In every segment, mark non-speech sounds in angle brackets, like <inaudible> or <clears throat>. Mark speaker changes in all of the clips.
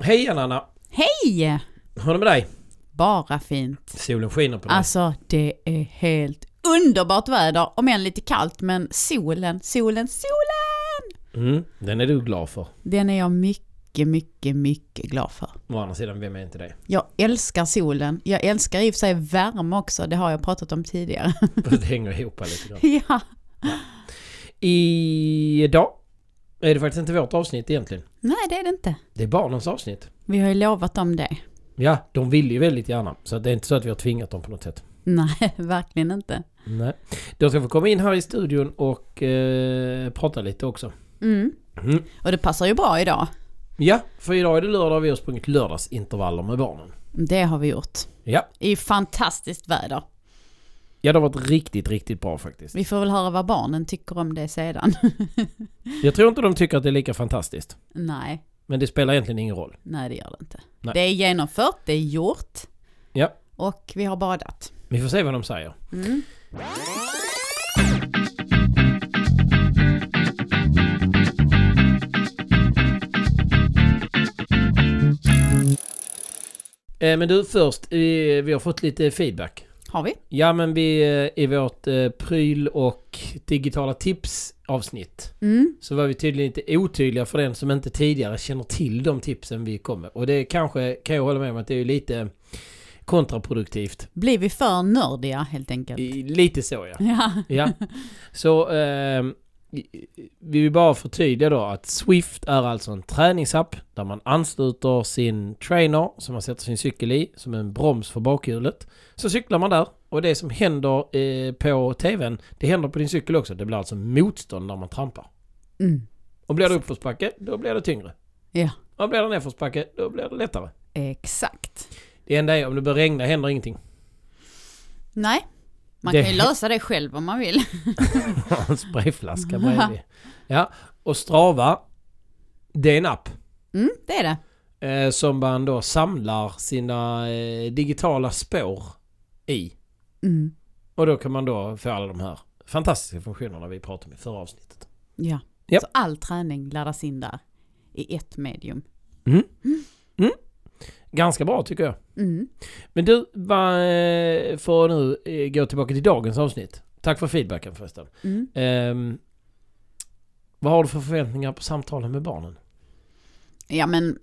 Speaker 1: Hej Anna!
Speaker 2: Hej!
Speaker 1: Hur är det med dig?
Speaker 2: Bara fint.
Speaker 1: Solen skiner på dig.
Speaker 2: Alltså det är helt underbart väder, om än lite kallt, men solen, solen, solen!
Speaker 1: Mm, den är du glad för.
Speaker 2: Den är jag mycket, mycket, mycket glad för.
Speaker 1: Å andra sidan, vem är inte det? <laughs>
Speaker 2: Jag älskar solen. Jag älskar i och för sig värme också, det har jag pratat om tidigare. <laughs>
Speaker 1: För det hänger ihop här lite grann.
Speaker 2: ja.
Speaker 1: Idag är det faktiskt inte vårt avsnitt egentligen.
Speaker 2: Nej, det är det inte.
Speaker 1: Det är barnens avsnitt.
Speaker 2: Vi har ju lovat om det.
Speaker 1: Ja, de vill ju väldigt gärna. Så det är inte så att vi har tvingat dem på något sätt.
Speaker 2: Nej, <laughs> verkligen inte.
Speaker 1: Nej. De ska få komma in här i studion och eh, prata lite också.
Speaker 2: Mm.
Speaker 1: Mm.
Speaker 2: Och det passar ju bra idag.
Speaker 1: Ja, för idag är det lördag och vi har sprungit lördagsintervaller med barnen.
Speaker 2: Det har vi gjort.
Speaker 1: Ja,
Speaker 2: I fantastiskt väder.
Speaker 1: ja det har varit riktigt, riktigt bra faktiskt.
Speaker 2: Vi får väl höra vad barnen tycker om det sedan. <laughs>
Speaker 1: Jag tror inte de tycker att det är lika fantastiskt.
Speaker 2: Nej.
Speaker 1: Men det spelar egentligen ingen roll.
Speaker 2: Nej, det gör det inte.
Speaker 1: Nej.
Speaker 2: Det är genomfört, det är gjort.
Speaker 1: Ja.
Speaker 2: Och vi har badat.
Speaker 1: Vi får se vad de säger.
Speaker 2: Mm.
Speaker 1: Eh, men du först, eh, vi har fått lite feedback.
Speaker 2: Har vi?
Speaker 1: Ja men vi eh, i vårt eh, pryl och digitala tips avsnitt
Speaker 2: Mm.
Speaker 1: så var vi tydligen inte otydliga för den som inte tidigare känner till de tipsen vi kom med. Och det kanske kan jag hålla med om att det är ju lite kontraproduktivt.
Speaker 2: Blir vi för nördiga helt enkelt?
Speaker 1: I, lite så ja.
Speaker 2: Ja.
Speaker 1: ja. Så eh, vi vill bara förtydliga då att Swift är alltså en träningsapp där man ansluter sin trainer som man sätter sin cykel i som en broms för bakhjulet. Så cyklar man där och det som händer eh, på tvn det händer på din cykel också. Det blir alltså motstånd när man trampar.
Speaker 2: Mm.
Speaker 1: Och blir det uppförsbacke då blir det tyngre.
Speaker 2: Ja.
Speaker 1: Och blir det nedförsbacke då blir det lättare.
Speaker 2: Exakt.
Speaker 1: Det enda är om det börjar regna händer ingenting.
Speaker 2: Nej. Man
Speaker 1: Det-
Speaker 2: kan ju lösa det själv om man vill.
Speaker 1: har en sprayflaska bredvid. Ja, och Strava, det är en app
Speaker 2: Mm, det är det.
Speaker 1: eh, som man då samlar sina eh, digitala spår i.
Speaker 2: Mm.
Speaker 1: Och då kan man då få alla de här fantastiska funktionerna vi pratade om i förra avsnittet.
Speaker 2: Ja.
Speaker 1: Ja.
Speaker 2: Så all träning laddas in där. I ett medium.
Speaker 1: Ganska bra tycker jag.
Speaker 2: Mm.
Speaker 1: Men du, va, eh, för att nu eh, gå tillbaka till dagens avsnitt. Tack för feedbacken förresten.
Speaker 2: Mm.
Speaker 1: Ehm, vad har du för förväntningar på samtalen med barnen?
Speaker 2: Ja men,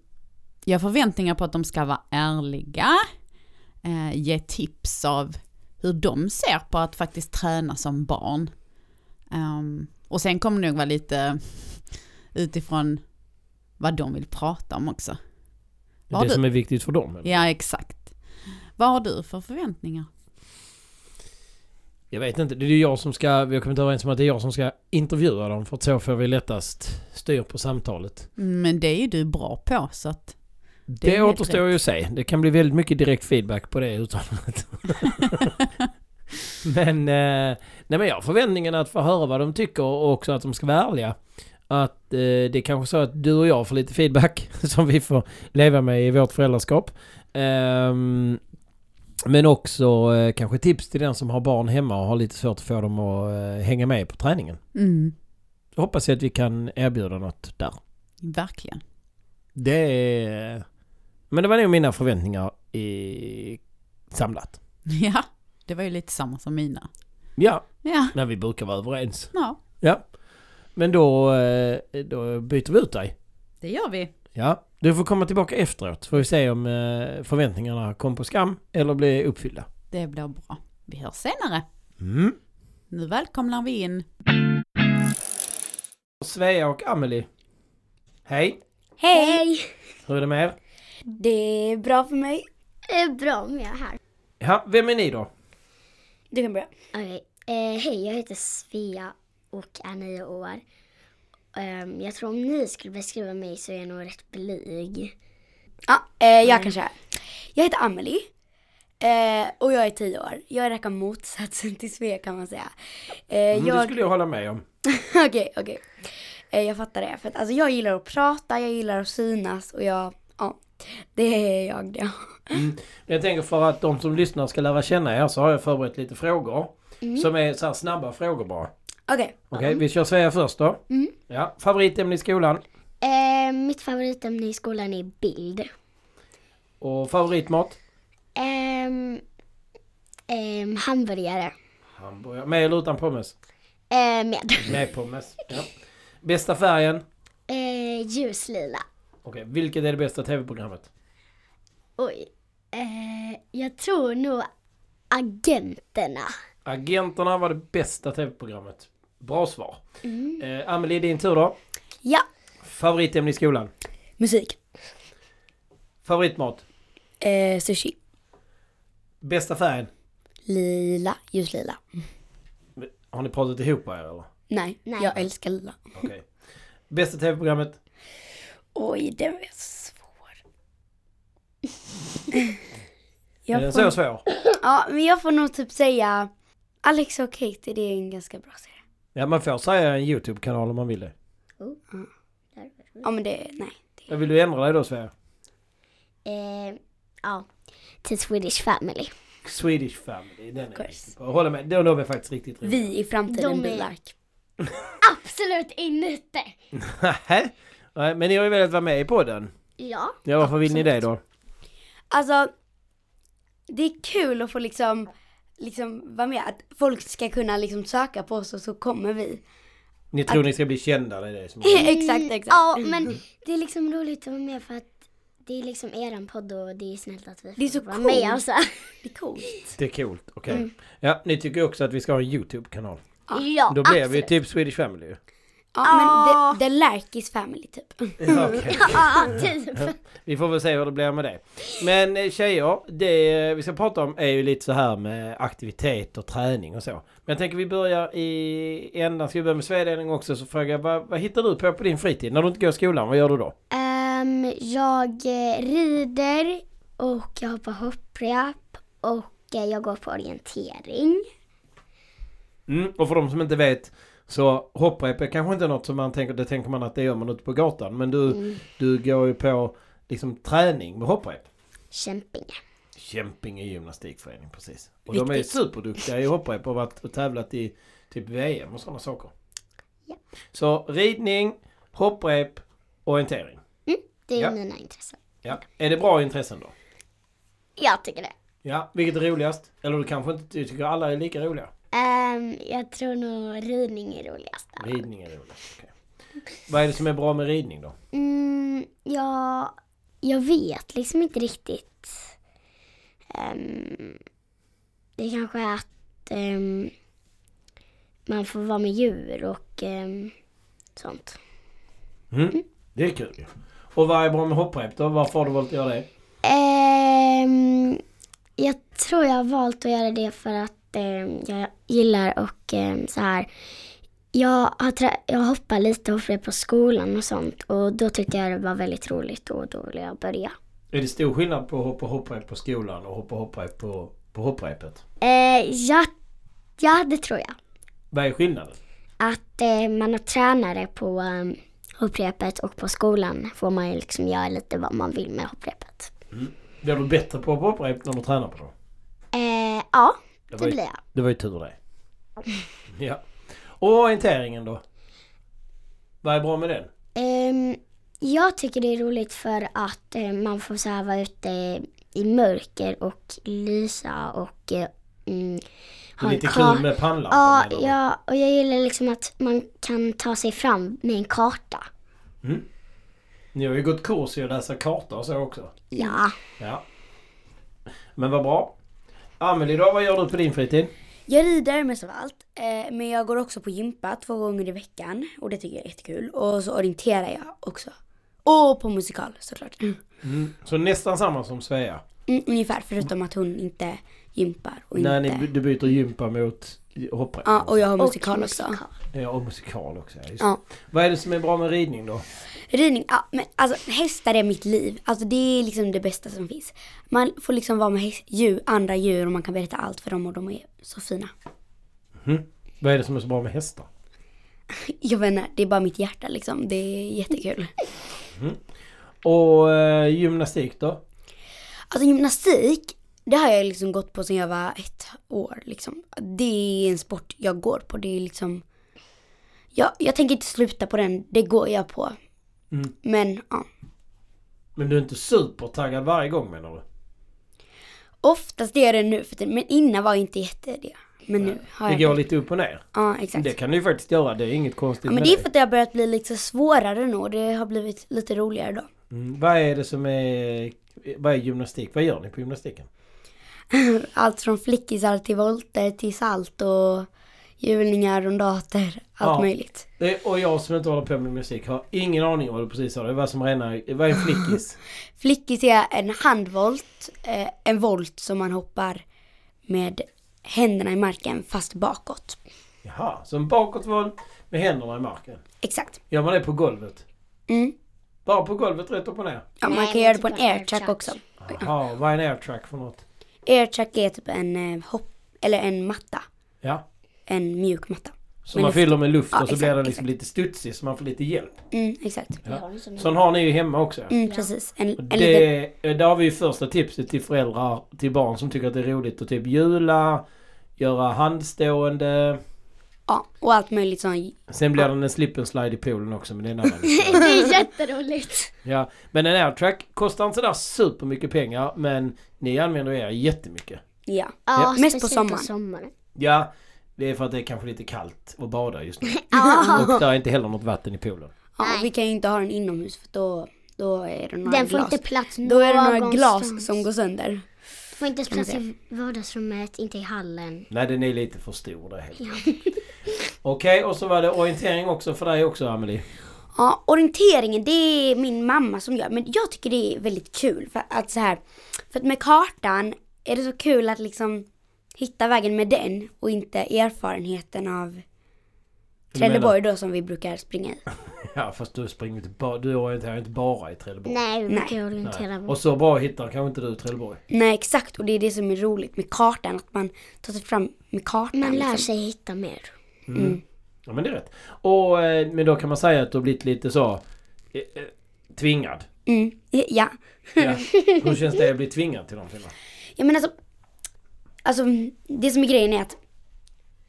Speaker 2: jag har förväntningar på att de ska vara ärliga, eh, ge tips av hur de ser på att faktiskt träna som barn. Ehm, och sen kommer det nog vara lite utifrån vad de vill prata om också. Vad har
Speaker 1: det
Speaker 2: du?
Speaker 1: som är viktigt för dem? eller?
Speaker 2: Ja, exakt. Vad har du för förväntningar?
Speaker 1: Jag vet inte, det är ju jag som ska, vi har kommit överens om att det är jag som ska intervjua dem för att så får vi lättast styr på samtalet.
Speaker 2: Mm, Men det är ju du bra på så att,
Speaker 1: Det,
Speaker 2: är helt
Speaker 1: återstår ju att se. Det kan bli väldigt mycket direkt feedback på det uttalandet. men, eh, nej men jag har förväntningen att få höra vad de tycker och också att de ska vara ärliga. Att eh, det är kanske så att du och jag får lite feedback <laughs> som vi får leva med i vårt föräldraskap. Ehm, men också eh, kanske tips till den som har barn hemma och har lite svårt att få dem att eh, hänga med på träningen.
Speaker 2: mm,
Speaker 1: Då hoppas jag att vi kan erbjuda något där.
Speaker 2: verkligen. <laughs>
Speaker 1: Det är... Men det var nog mina förväntningar i... samlat.
Speaker 2: Ja, det var ju lite samma som mina.
Speaker 1: Ja,
Speaker 2: Ja,
Speaker 1: när vi brukar vara överens.
Speaker 2: ja
Speaker 1: Ja. Men då, eh, då byter vi ut dig.
Speaker 2: det gör vi.
Speaker 1: Ja. Du får komma tillbaka efteråt. Får vi se om eh, förväntningarna kom på skam eller blev uppfyllda.
Speaker 2: Det blir bra. Vi hörs senare.
Speaker 1: Mm.
Speaker 2: Nu välkomnar vi in.
Speaker 1: Svea och Amelie. Hej!
Speaker 3: Hej!
Speaker 1: Hur är det med er?
Speaker 3: Det är bra för mig.
Speaker 4: Det är Eh, bra om jag är här.
Speaker 1: Ja, vem är ni då?
Speaker 3: Du kan börja.
Speaker 4: Okej. Eh, hej, jag heter Svea och är nio år. Ehm, jag tror om ni skulle beskriva mig så är jag nog rätt blyg.
Speaker 3: Ja, eh, jag kan köra. Jag heter Amelie eh, och jag är 10 år. Jag är raka motsatsen till Svea kan man säga. Eh,
Speaker 1: Mm, Det
Speaker 3: jag...
Speaker 1: skulle jag hålla med om.
Speaker 3: Okej, <laughs> okej. Eh, jag fattar det. För att, alltså, jag gillar att prata, jag gillar att synas och jag, ja. Det är jag det.
Speaker 1: Jag tänker för att de som lyssnar ska lära känna er så har jag förberett lite frågor. Som är så här snabba frågor bara.
Speaker 3: <laughs> Okej. Mm.
Speaker 1: Okej, vi kör Svea först då. Ja, favoritämne i skolan?
Speaker 5: Eh,
Speaker 4: Ehm,
Speaker 5: mitt favoritämne i skolan är bild.
Speaker 1: Och favoritmat?
Speaker 5: Ehm, ehm, hamburgare.
Speaker 1: Hamburgare. Med eller utan pommes?
Speaker 5: Eh,
Speaker 4: Ehm,
Speaker 5: med.
Speaker 1: Med pommes. Ja. Bästa färgen?
Speaker 5: Eh, ljuslila.
Speaker 1: Okej, vilket är det bästa tv-programmet?
Speaker 5: Oj. Eh, jag tror nog agenterna.
Speaker 1: Agenterna var det bästa tv-programmet. Bra svar.
Speaker 3: Mm.
Speaker 1: Eh, Amelie, din tur då.
Speaker 3: Ja.
Speaker 1: Favoritämne i skolan?
Speaker 3: Musik.
Speaker 1: Favoritmat?
Speaker 3: Eh, sushi.
Speaker 1: Bästa färgen?
Speaker 3: Lila. Ljuslila.
Speaker 1: Har ni pratat ihop er
Speaker 3: Mm.
Speaker 1: eller?
Speaker 3: Nej,
Speaker 5: Nej.
Speaker 3: jag älskar lila.
Speaker 1: Okej. Bästa tv-programmet?
Speaker 3: Oj, den var svår.
Speaker 1: Är
Speaker 3: jag
Speaker 1: den
Speaker 3: får,
Speaker 1: Eh, så svår?
Speaker 3: ja, men jag får nog typ säga Alex och Katie, det är en ganska bra serie.
Speaker 1: Ja, man får säga en YouTube-kanal om man vill det.
Speaker 3: Ja, men det, nej.
Speaker 1: Ja, Vill du ändra dig då Sverige?
Speaker 5: Eh,
Speaker 4: Ehm,
Speaker 5: ja. Till Swedish Family.
Speaker 1: Swedish Family, den är
Speaker 3: course.
Speaker 1: riktigt bra. Håller med, de de är faktiskt riktigt roliga.
Speaker 3: Vi i framtiden
Speaker 5: De är-
Speaker 3: Bilark.
Speaker 5: Absolut inte!
Speaker 1: <laughs> Nähä? Nej, Men ni har ju velat vara med i podden.
Speaker 5: Ja.
Speaker 1: Ja, varför vill ni det då?
Speaker 3: Alltså, det är kul att få liksom, liksom vara med. Att folk ska kunna liksom söka på oss och så kommer vi. <laughs>
Speaker 1: Ni tror ni ska bli kända, det är det som
Speaker 3: exakt, exakt. Mm.
Speaker 5: Ja, men det är liksom roligt att vara med för att det är liksom eran podd och det är snällt att vi
Speaker 3: Det är
Speaker 5: får
Speaker 3: så
Speaker 5: vara med.
Speaker 3: coolt.
Speaker 5: Alltså.
Speaker 3: Det är coolt.
Speaker 1: Det är coolt, okej.
Speaker 5: Mm.
Speaker 1: Ja, ni tycker också att vi ska ha en YouTube-kanal.
Speaker 5: <laughs> Ja,
Speaker 1: Då blev vi typ Swedish Family ju.
Speaker 3: Ja, men the, the Larkis family typ.
Speaker 1: <laughs> Okej.
Speaker 5: Ja, typ.
Speaker 1: <laughs> Vi får väl se hur det blir med det. Men eh, tjejer, det eh, vi ska prata om är ju lite så här med aktivitet och träning och så. Men jag tänker vi börjar i ändan. Ska vi börja med svedelen också så frågar jag vad, vad hittar du på på din fritid? När du inte går i skolan, vad gör du då?
Speaker 5: Ehm, jag eh, rider och jag hoppar hopprep och eh, jag går på orientering.
Speaker 1: Mm, och för de som inte vet så hopprep är kanske inte något som man tänker, det tänker man att det gör man ute på gatan. Men du, du går ju på liksom träning med hopprep.
Speaker 5: Kämpinge.
Speaker 1: Kämpinge gymnastikförening, precis. Och de är ju
Speaker 3: Viktigt.
Speaker 1: superduktiga i hopprep och varit och tävlat i typ VM och sådana saker.
Speaker 5: Ja.
Speaker 1: Så ridning, hopprep, orientering.
Speaker 5: Mm, Det är
Speaker 1: Ja.
Speaker 5: mina intressen.
Speaker 1: Ja. Är det bra intressen då?
Speaker 5: Jag tycker det.
Speaker 1: Ja, vilket är roligast? Eller du kanske inte du tycker alla är lika roliga?
Speaker 5: Ehm, jag tror nog ridning är roligast. där.
Speaker 1: Ridning är roligast, okej. Vad är det som är bra med ridning då?
Speaker 5: Mm, ja, jag vet liksom inte riktigt. Ehm, det kanske är att ehm, man får vara med djur och ehm, sånt.
Speaker 1: Mm. Det är kul ju. Och vad är bra med hopprep då? Varför har du valt att göra det?
Speaker 5: Ehm, jag tror jag har valt att göra det för att ehm, jag gillar och ehm, så här. Jag, har trä- jag hoppar lite och på skolan och sånt och då tyckte jag det var väldigt roligt och då ville jag börja.
Speaker 1: Är det stor skillnad på att hoppa hopprep på skolan och hoppa hopprep på, på hopprepet?
Speaker 5: Eh, ja, ja, det tror jag.
Speaker 1: Vad är skillnaden?
Speaker 5: Att eh, man har tränare på ehm, hopprepet och på skolan får man ju liksom göra lite vad man vill med hopprepet.
Speaker 1: Blir du bättre på att hoppa hopprep när du tränar på det?
Speaker 5: Eh, ja,
Speaker 1: Det
Speaker 5: det
Speaker 1: var ju-
Speaker 5: blir jag.
Speaker 1: Det var ju tur
Speaker 5: <laughs>
Speaker 1: det. Ja. Och orienteringen då? Vad är bra med den?
Speaker 5: Ehm, jag tycker det är roligt för att eh, man får så här vara ute i mörker och lysa och eh, mm,
Speaker 1: Det
Speaker 5: ha
Speaker 1: är
Speaker 5: en
Speaker 1: lite
Speaker 5: kar-
Speaker 1: kul med
Speaker 5: Ja,
Speaker 1: pannlampan. menar du?
Speaker 5: ja, och jag gillar liksom att man kan ta sig fram med en karta.
Speaker 1: Ni har ju gått kurs i att läsa kartor och så också.
Speaker 5: Ja.
Speaker 1: Ja. Men vad bra. Amelie då, vad gör du på din fritid?
Speaker 3: Jag rider mest av allt, eh, men jag går också på gympa två gånger i veckan och det tycker jag är jättekul. Och så orienterar jag också. Och på musikal såklart. Mm.
Speaker 1: Så nästan samma som Svea?
Speaker 3: ungefär, förutom att hon inte gympar och
Speaker 1: När
Speaker 3: inte...
Speaker 1: ni, du byter gympa mot hopprep?
Speaker 3: Ja, och jag har
Speaker 5: Och
Speaker 3: musikal också.
Speaker 5: <laughs> musikal.
Speaker 1: Ja, och musikal också. Ja. Just.
Speaker 3: Ja.
Speaker 1: Vad är det som är bra med ridning då?
Speaker 3: Ridning, ja men alltså hästar är mitt liv. Alltså det är liksom det bästa som finns. Man får liksom vara med häst, djur, andra djur och man kan berätta allt för dem och de är så fina.
Speaker 1: Vad är det som är så bra med hästar?
Speaker 3: Jag vet inte, det är bara mitt hjärta liksom. Det är jättekul.
Speaker 1: Och eh, gymnastik då?
Speaker 3: Alltså gymnastik, det har jag liksom gått på sedan jag var ett år liksom. Det är en sport jag går på. Det är liksom... Jag, jag tänker inte sluta på den, det går jag på.
Speaker 1: Mm.
Speaker 3: Men ja.
Speaker 1: Men du är inte supertaggad varje gång menar du?
Speaker 3: Oftast är det nu för tiden, men innan var jag inte jätte det. Men nu har
Speaker 1: Det
Speaker 3: jag
Speaker 1: går lite upp och ner.
Speaker 3: Ja, exakt.
Speaker 1: Det kan du ju faktiskt göra. Det är inget konstigt
Speaker 3: ja, men
Speaker 1: med
Speaker 3: det är för att det har börjat bli lite svårare nu och det har blivit lite roligare då.
Speaker 1: Mm. Vad är det som är... Vad är gymnastik? Vad gör ni på gymnastiken?
Speaker 3: Allt från flickisar till volter till salt och hjulningar, rondater, allt
Speaker 1: Ja.
Speaker 3: möjligt.
Speaker 1: Det, och jag som inte håller på med musik har ingen aning om vad du precis sa. Det var som rena... Vad är en
Speaker 3: <laughs>
Speaker 1: flickis?
Speaker 3: Flickis är en handvolt, eh, en volt som man hoppar med händerna i marken fast bakåt.
Speaker 1: Jaha, så en bakåtvolt med händerna i marken.
Speaker 3: Exakt.
Speaker 1: Gör man det på golvet?
Speaker 3: Mm.
Speaker 1: Bara på golvet rätt upp och ner?
Speaker 3: Ja, man
Speaker 4: Nej,
Speaker 3: kan
Speaker 4: men
Speaker 3: göra det
Speaker 4: typ
Speaker 3: på en
Speaker 4: en
Speaker 3: airtrack
Speaker 4: airtrack.
Speaker 3: också.
Speaker 1: Jaha, vad är en airtrack för något?
Speaker 3: Airtrack är typ en eh, hopp, eller en matta.
Speaker 1: Ja.
Speaker 3: En mjuk matta.
Speaker 1: Så
Speaker 3: Med
Speaker 1: man
Speaker 3: luft.
Speaker 1: fyller med luft och
Speaker 3: Ja,
Speaker 1: så
Speaker 3: exakt,
Speaker 1: blir den liksom
Speaker 3: exakt.
Speaker 1: lite studsig så man får lite hjälp.
Speaker 3: Mm, exakt.
Speaker 1: Ja. Sån har ni ju hemma också.
Speaker 3: Mm, precis. En,
Speaker 1: Och
Speaker 3: en liten,
Speaker 1: Det, det har vi ju första tipset till föräldrar till barn som tycker att det är roligt att typ jula, göra handstående.
Speaker 3: ja, och allt möjligt sånt.
Speaker 1: Sen blir den en slip and slide i poolen också men det är en annan historia.
Speaker 3: <laughs>
Speaker 4: Det är jätteroligt.
Speaker 1: ja, Men en airtrack kostar inte där supermycket pengar men ni använder er jättemycket.
Speaker 3: Ja.
Speaker 4: Ja,
Speaker 3: Mest på
Speaker 4: speciellt
Speaker 3: sommaren. <laughs>
Speaker 4: sommaren.
Speaker 1: Ja, det är för att det är kanske lite kallt att bada just nu.
Speaker 3: <laughs>
Speaker 1: Och där är inte heller något vatten i poolen.
Speaker 3: ja
Speaker 4: Nej.
Speaker 3: och vi kan ju inte ha den inomhus för då, då är det några
Speaker 4: <laughs> Den får
Speaker 3: glas.
Speaker 4: inte plats
Speaker 3: då är det några
Speaker 4: någonstans.
Speaker 3: glas som går sönder.
Speaker 4: Får inte
Speaker 3: kan man
Speaker 4: plats i vardagsrummet, inte i hallen.
Speaker 1: Nej den är lite för stor där helt enkelt. Okej och så var det orientering också för dig också Amelie.
Speaker 3: Ja, orienteringen det är min mamma som gör, men jag tycker det är väldigt kul för att så här, för att med kartan är det så kul att liksom hitta vägen med den och inte erfarenheten av
Speaker 1: Du menar-
Speaker 3: Trelleborg då som vi brukar springa i.
Speaker 1: Ja fast du springer inte bara, du orienterar inte bara i Trelleborg.
Speaker 4: Nej, vi
Speaker 3: Nej.
Speaker 4: brukar orientera
Speaker 1: Och
Speaker 4: vårt.
Speaker 1: så bra hittar kanske inte du Trelleborg.
Speaker 3: Nej exakt och det är det som är roligt med kartan, att man tar sig fram med kartan.
Speaker 4: Man lär
Speaker 3: liksom.
Speaker 4: sig hitta mer.
Speaker 1: Ja men det är rätt. Och, eh, men då kan man säga att du har blivit lite så eh, eh, tvingad.
Speaker 3: Mm, ja.
Speaker 1: Ja. Hur känns det att bli tvingad till någonting? då?
Speaker 3: Ja men alltså, alltså det som är grejen är att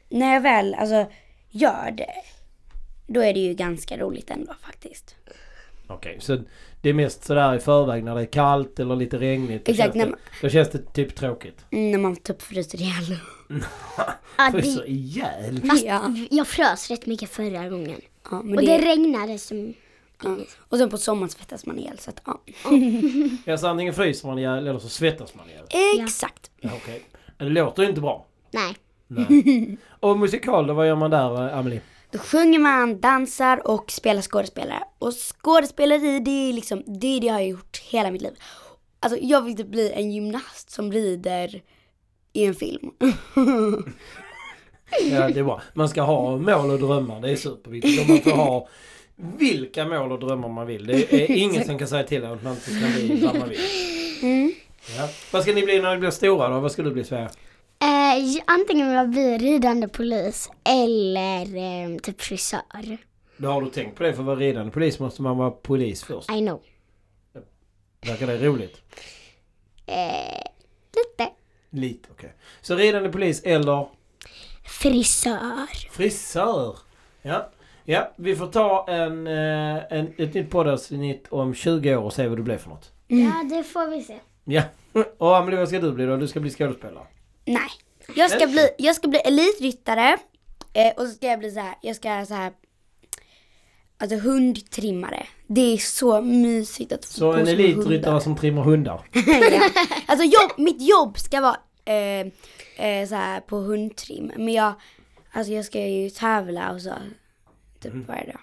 Speaker 3: när jag väl alltså, gör det, då är det ju ganska roligt ändå faktiskt.
Speaker 1: Okej, så det är mest sådär i förväg när det är kallt eller lite regnigt. Då
Speaker 3: Exakt,
Speaker 1: Känns
Speaker 3: när
Speaker 1: det, då känns det typ tråkigt.
Speaker 3: Mm, När man typ fryser ihjäl.
Speaker 4: Ja,
Speaker 1: För så
Speaker 4: det,
Speaker 1: ihjäl.
Speaker 3: Ja.
Speaker 4: jag frös rätt mycket förra gången.
Speaker 3: Ja, men
Speaker 4: Och
Speaker 3: det,
Speaker 4: det regnade som...
Speaker 3: ja. och sen på sommaren svettas man ihjäl. Så att, ja.
Speaker 1: Ja, så antingen fryser man ihjäl eller så svettas man ihjäl.
Speaker 3: Exakt.
Speaker 1: Ja, Okej. Det låter ju inte bra.
Speaker 4: Nej.
Speaker 1: Och musikal då, vad gör man där eh, Amelie?
Speaker 3: Då sjunger man, dansar och spelar skådespelare. Och skådespeleri det är liksom, det är det jag har gjort hela mitt liv. Alltså jag vill typ bli en gymnast som rider i en film. <laughs>
Speaker 1: Ja, det är bra. Man ska ha mål och drömmar, det är superviktigt. Och man får ha vilka mål och drömmar man vill. Det är ingen som kan säga till en att man inte kan bli vad man vill. Ja. Vad ska ni bli när ni blir stora då? Vad ska du bli Sverige?
Speaker 4: Eh, j- antingen vill jag bli ridande polis eller eh, typ frisör.
Speaker 1: Då har du tänkt på det, för att vara ridande polis måste man vara polis först.
Speaker 4: I know.
Speaker 1: Verkar det roligt?
Speaker 4: Eh, lite.
Speaker 1: Lite, okej. Så ridande polis eller
Speaker 4: Frisör.
Speaker 1: frisör? Ja. Ja, vi får ta en, eh, en, ett nytt poddavsnitt om 20 år och se vad du blev för något.
Speaker 3: Mm.
Speaker 4: Ja, det får vi se.
Speaker 1: Ja. <laughs> Och Amelie, vad ska du bli då? Du ska bli skådespelare.
Speaker 3: Nej. Jag ska bli, jag ska bli elitryttare. Eh, och så ska jag bli så här, jag ska så här. Alltså hundtrimmare. Det är så mysigt att få
Speaker 1: Så
Speaker 3: gå
Speaker 1: en
Speaker 3: som hundar.
Speaker 1: elitryttare som trimmar hundar.
Speaker 3: ja. <laughs> Alltså jobb, mitt jobb ska vara eh, eh, så här på hundtrim. Men jag, alltså jag ska ju tävla och så. Typ varje dag.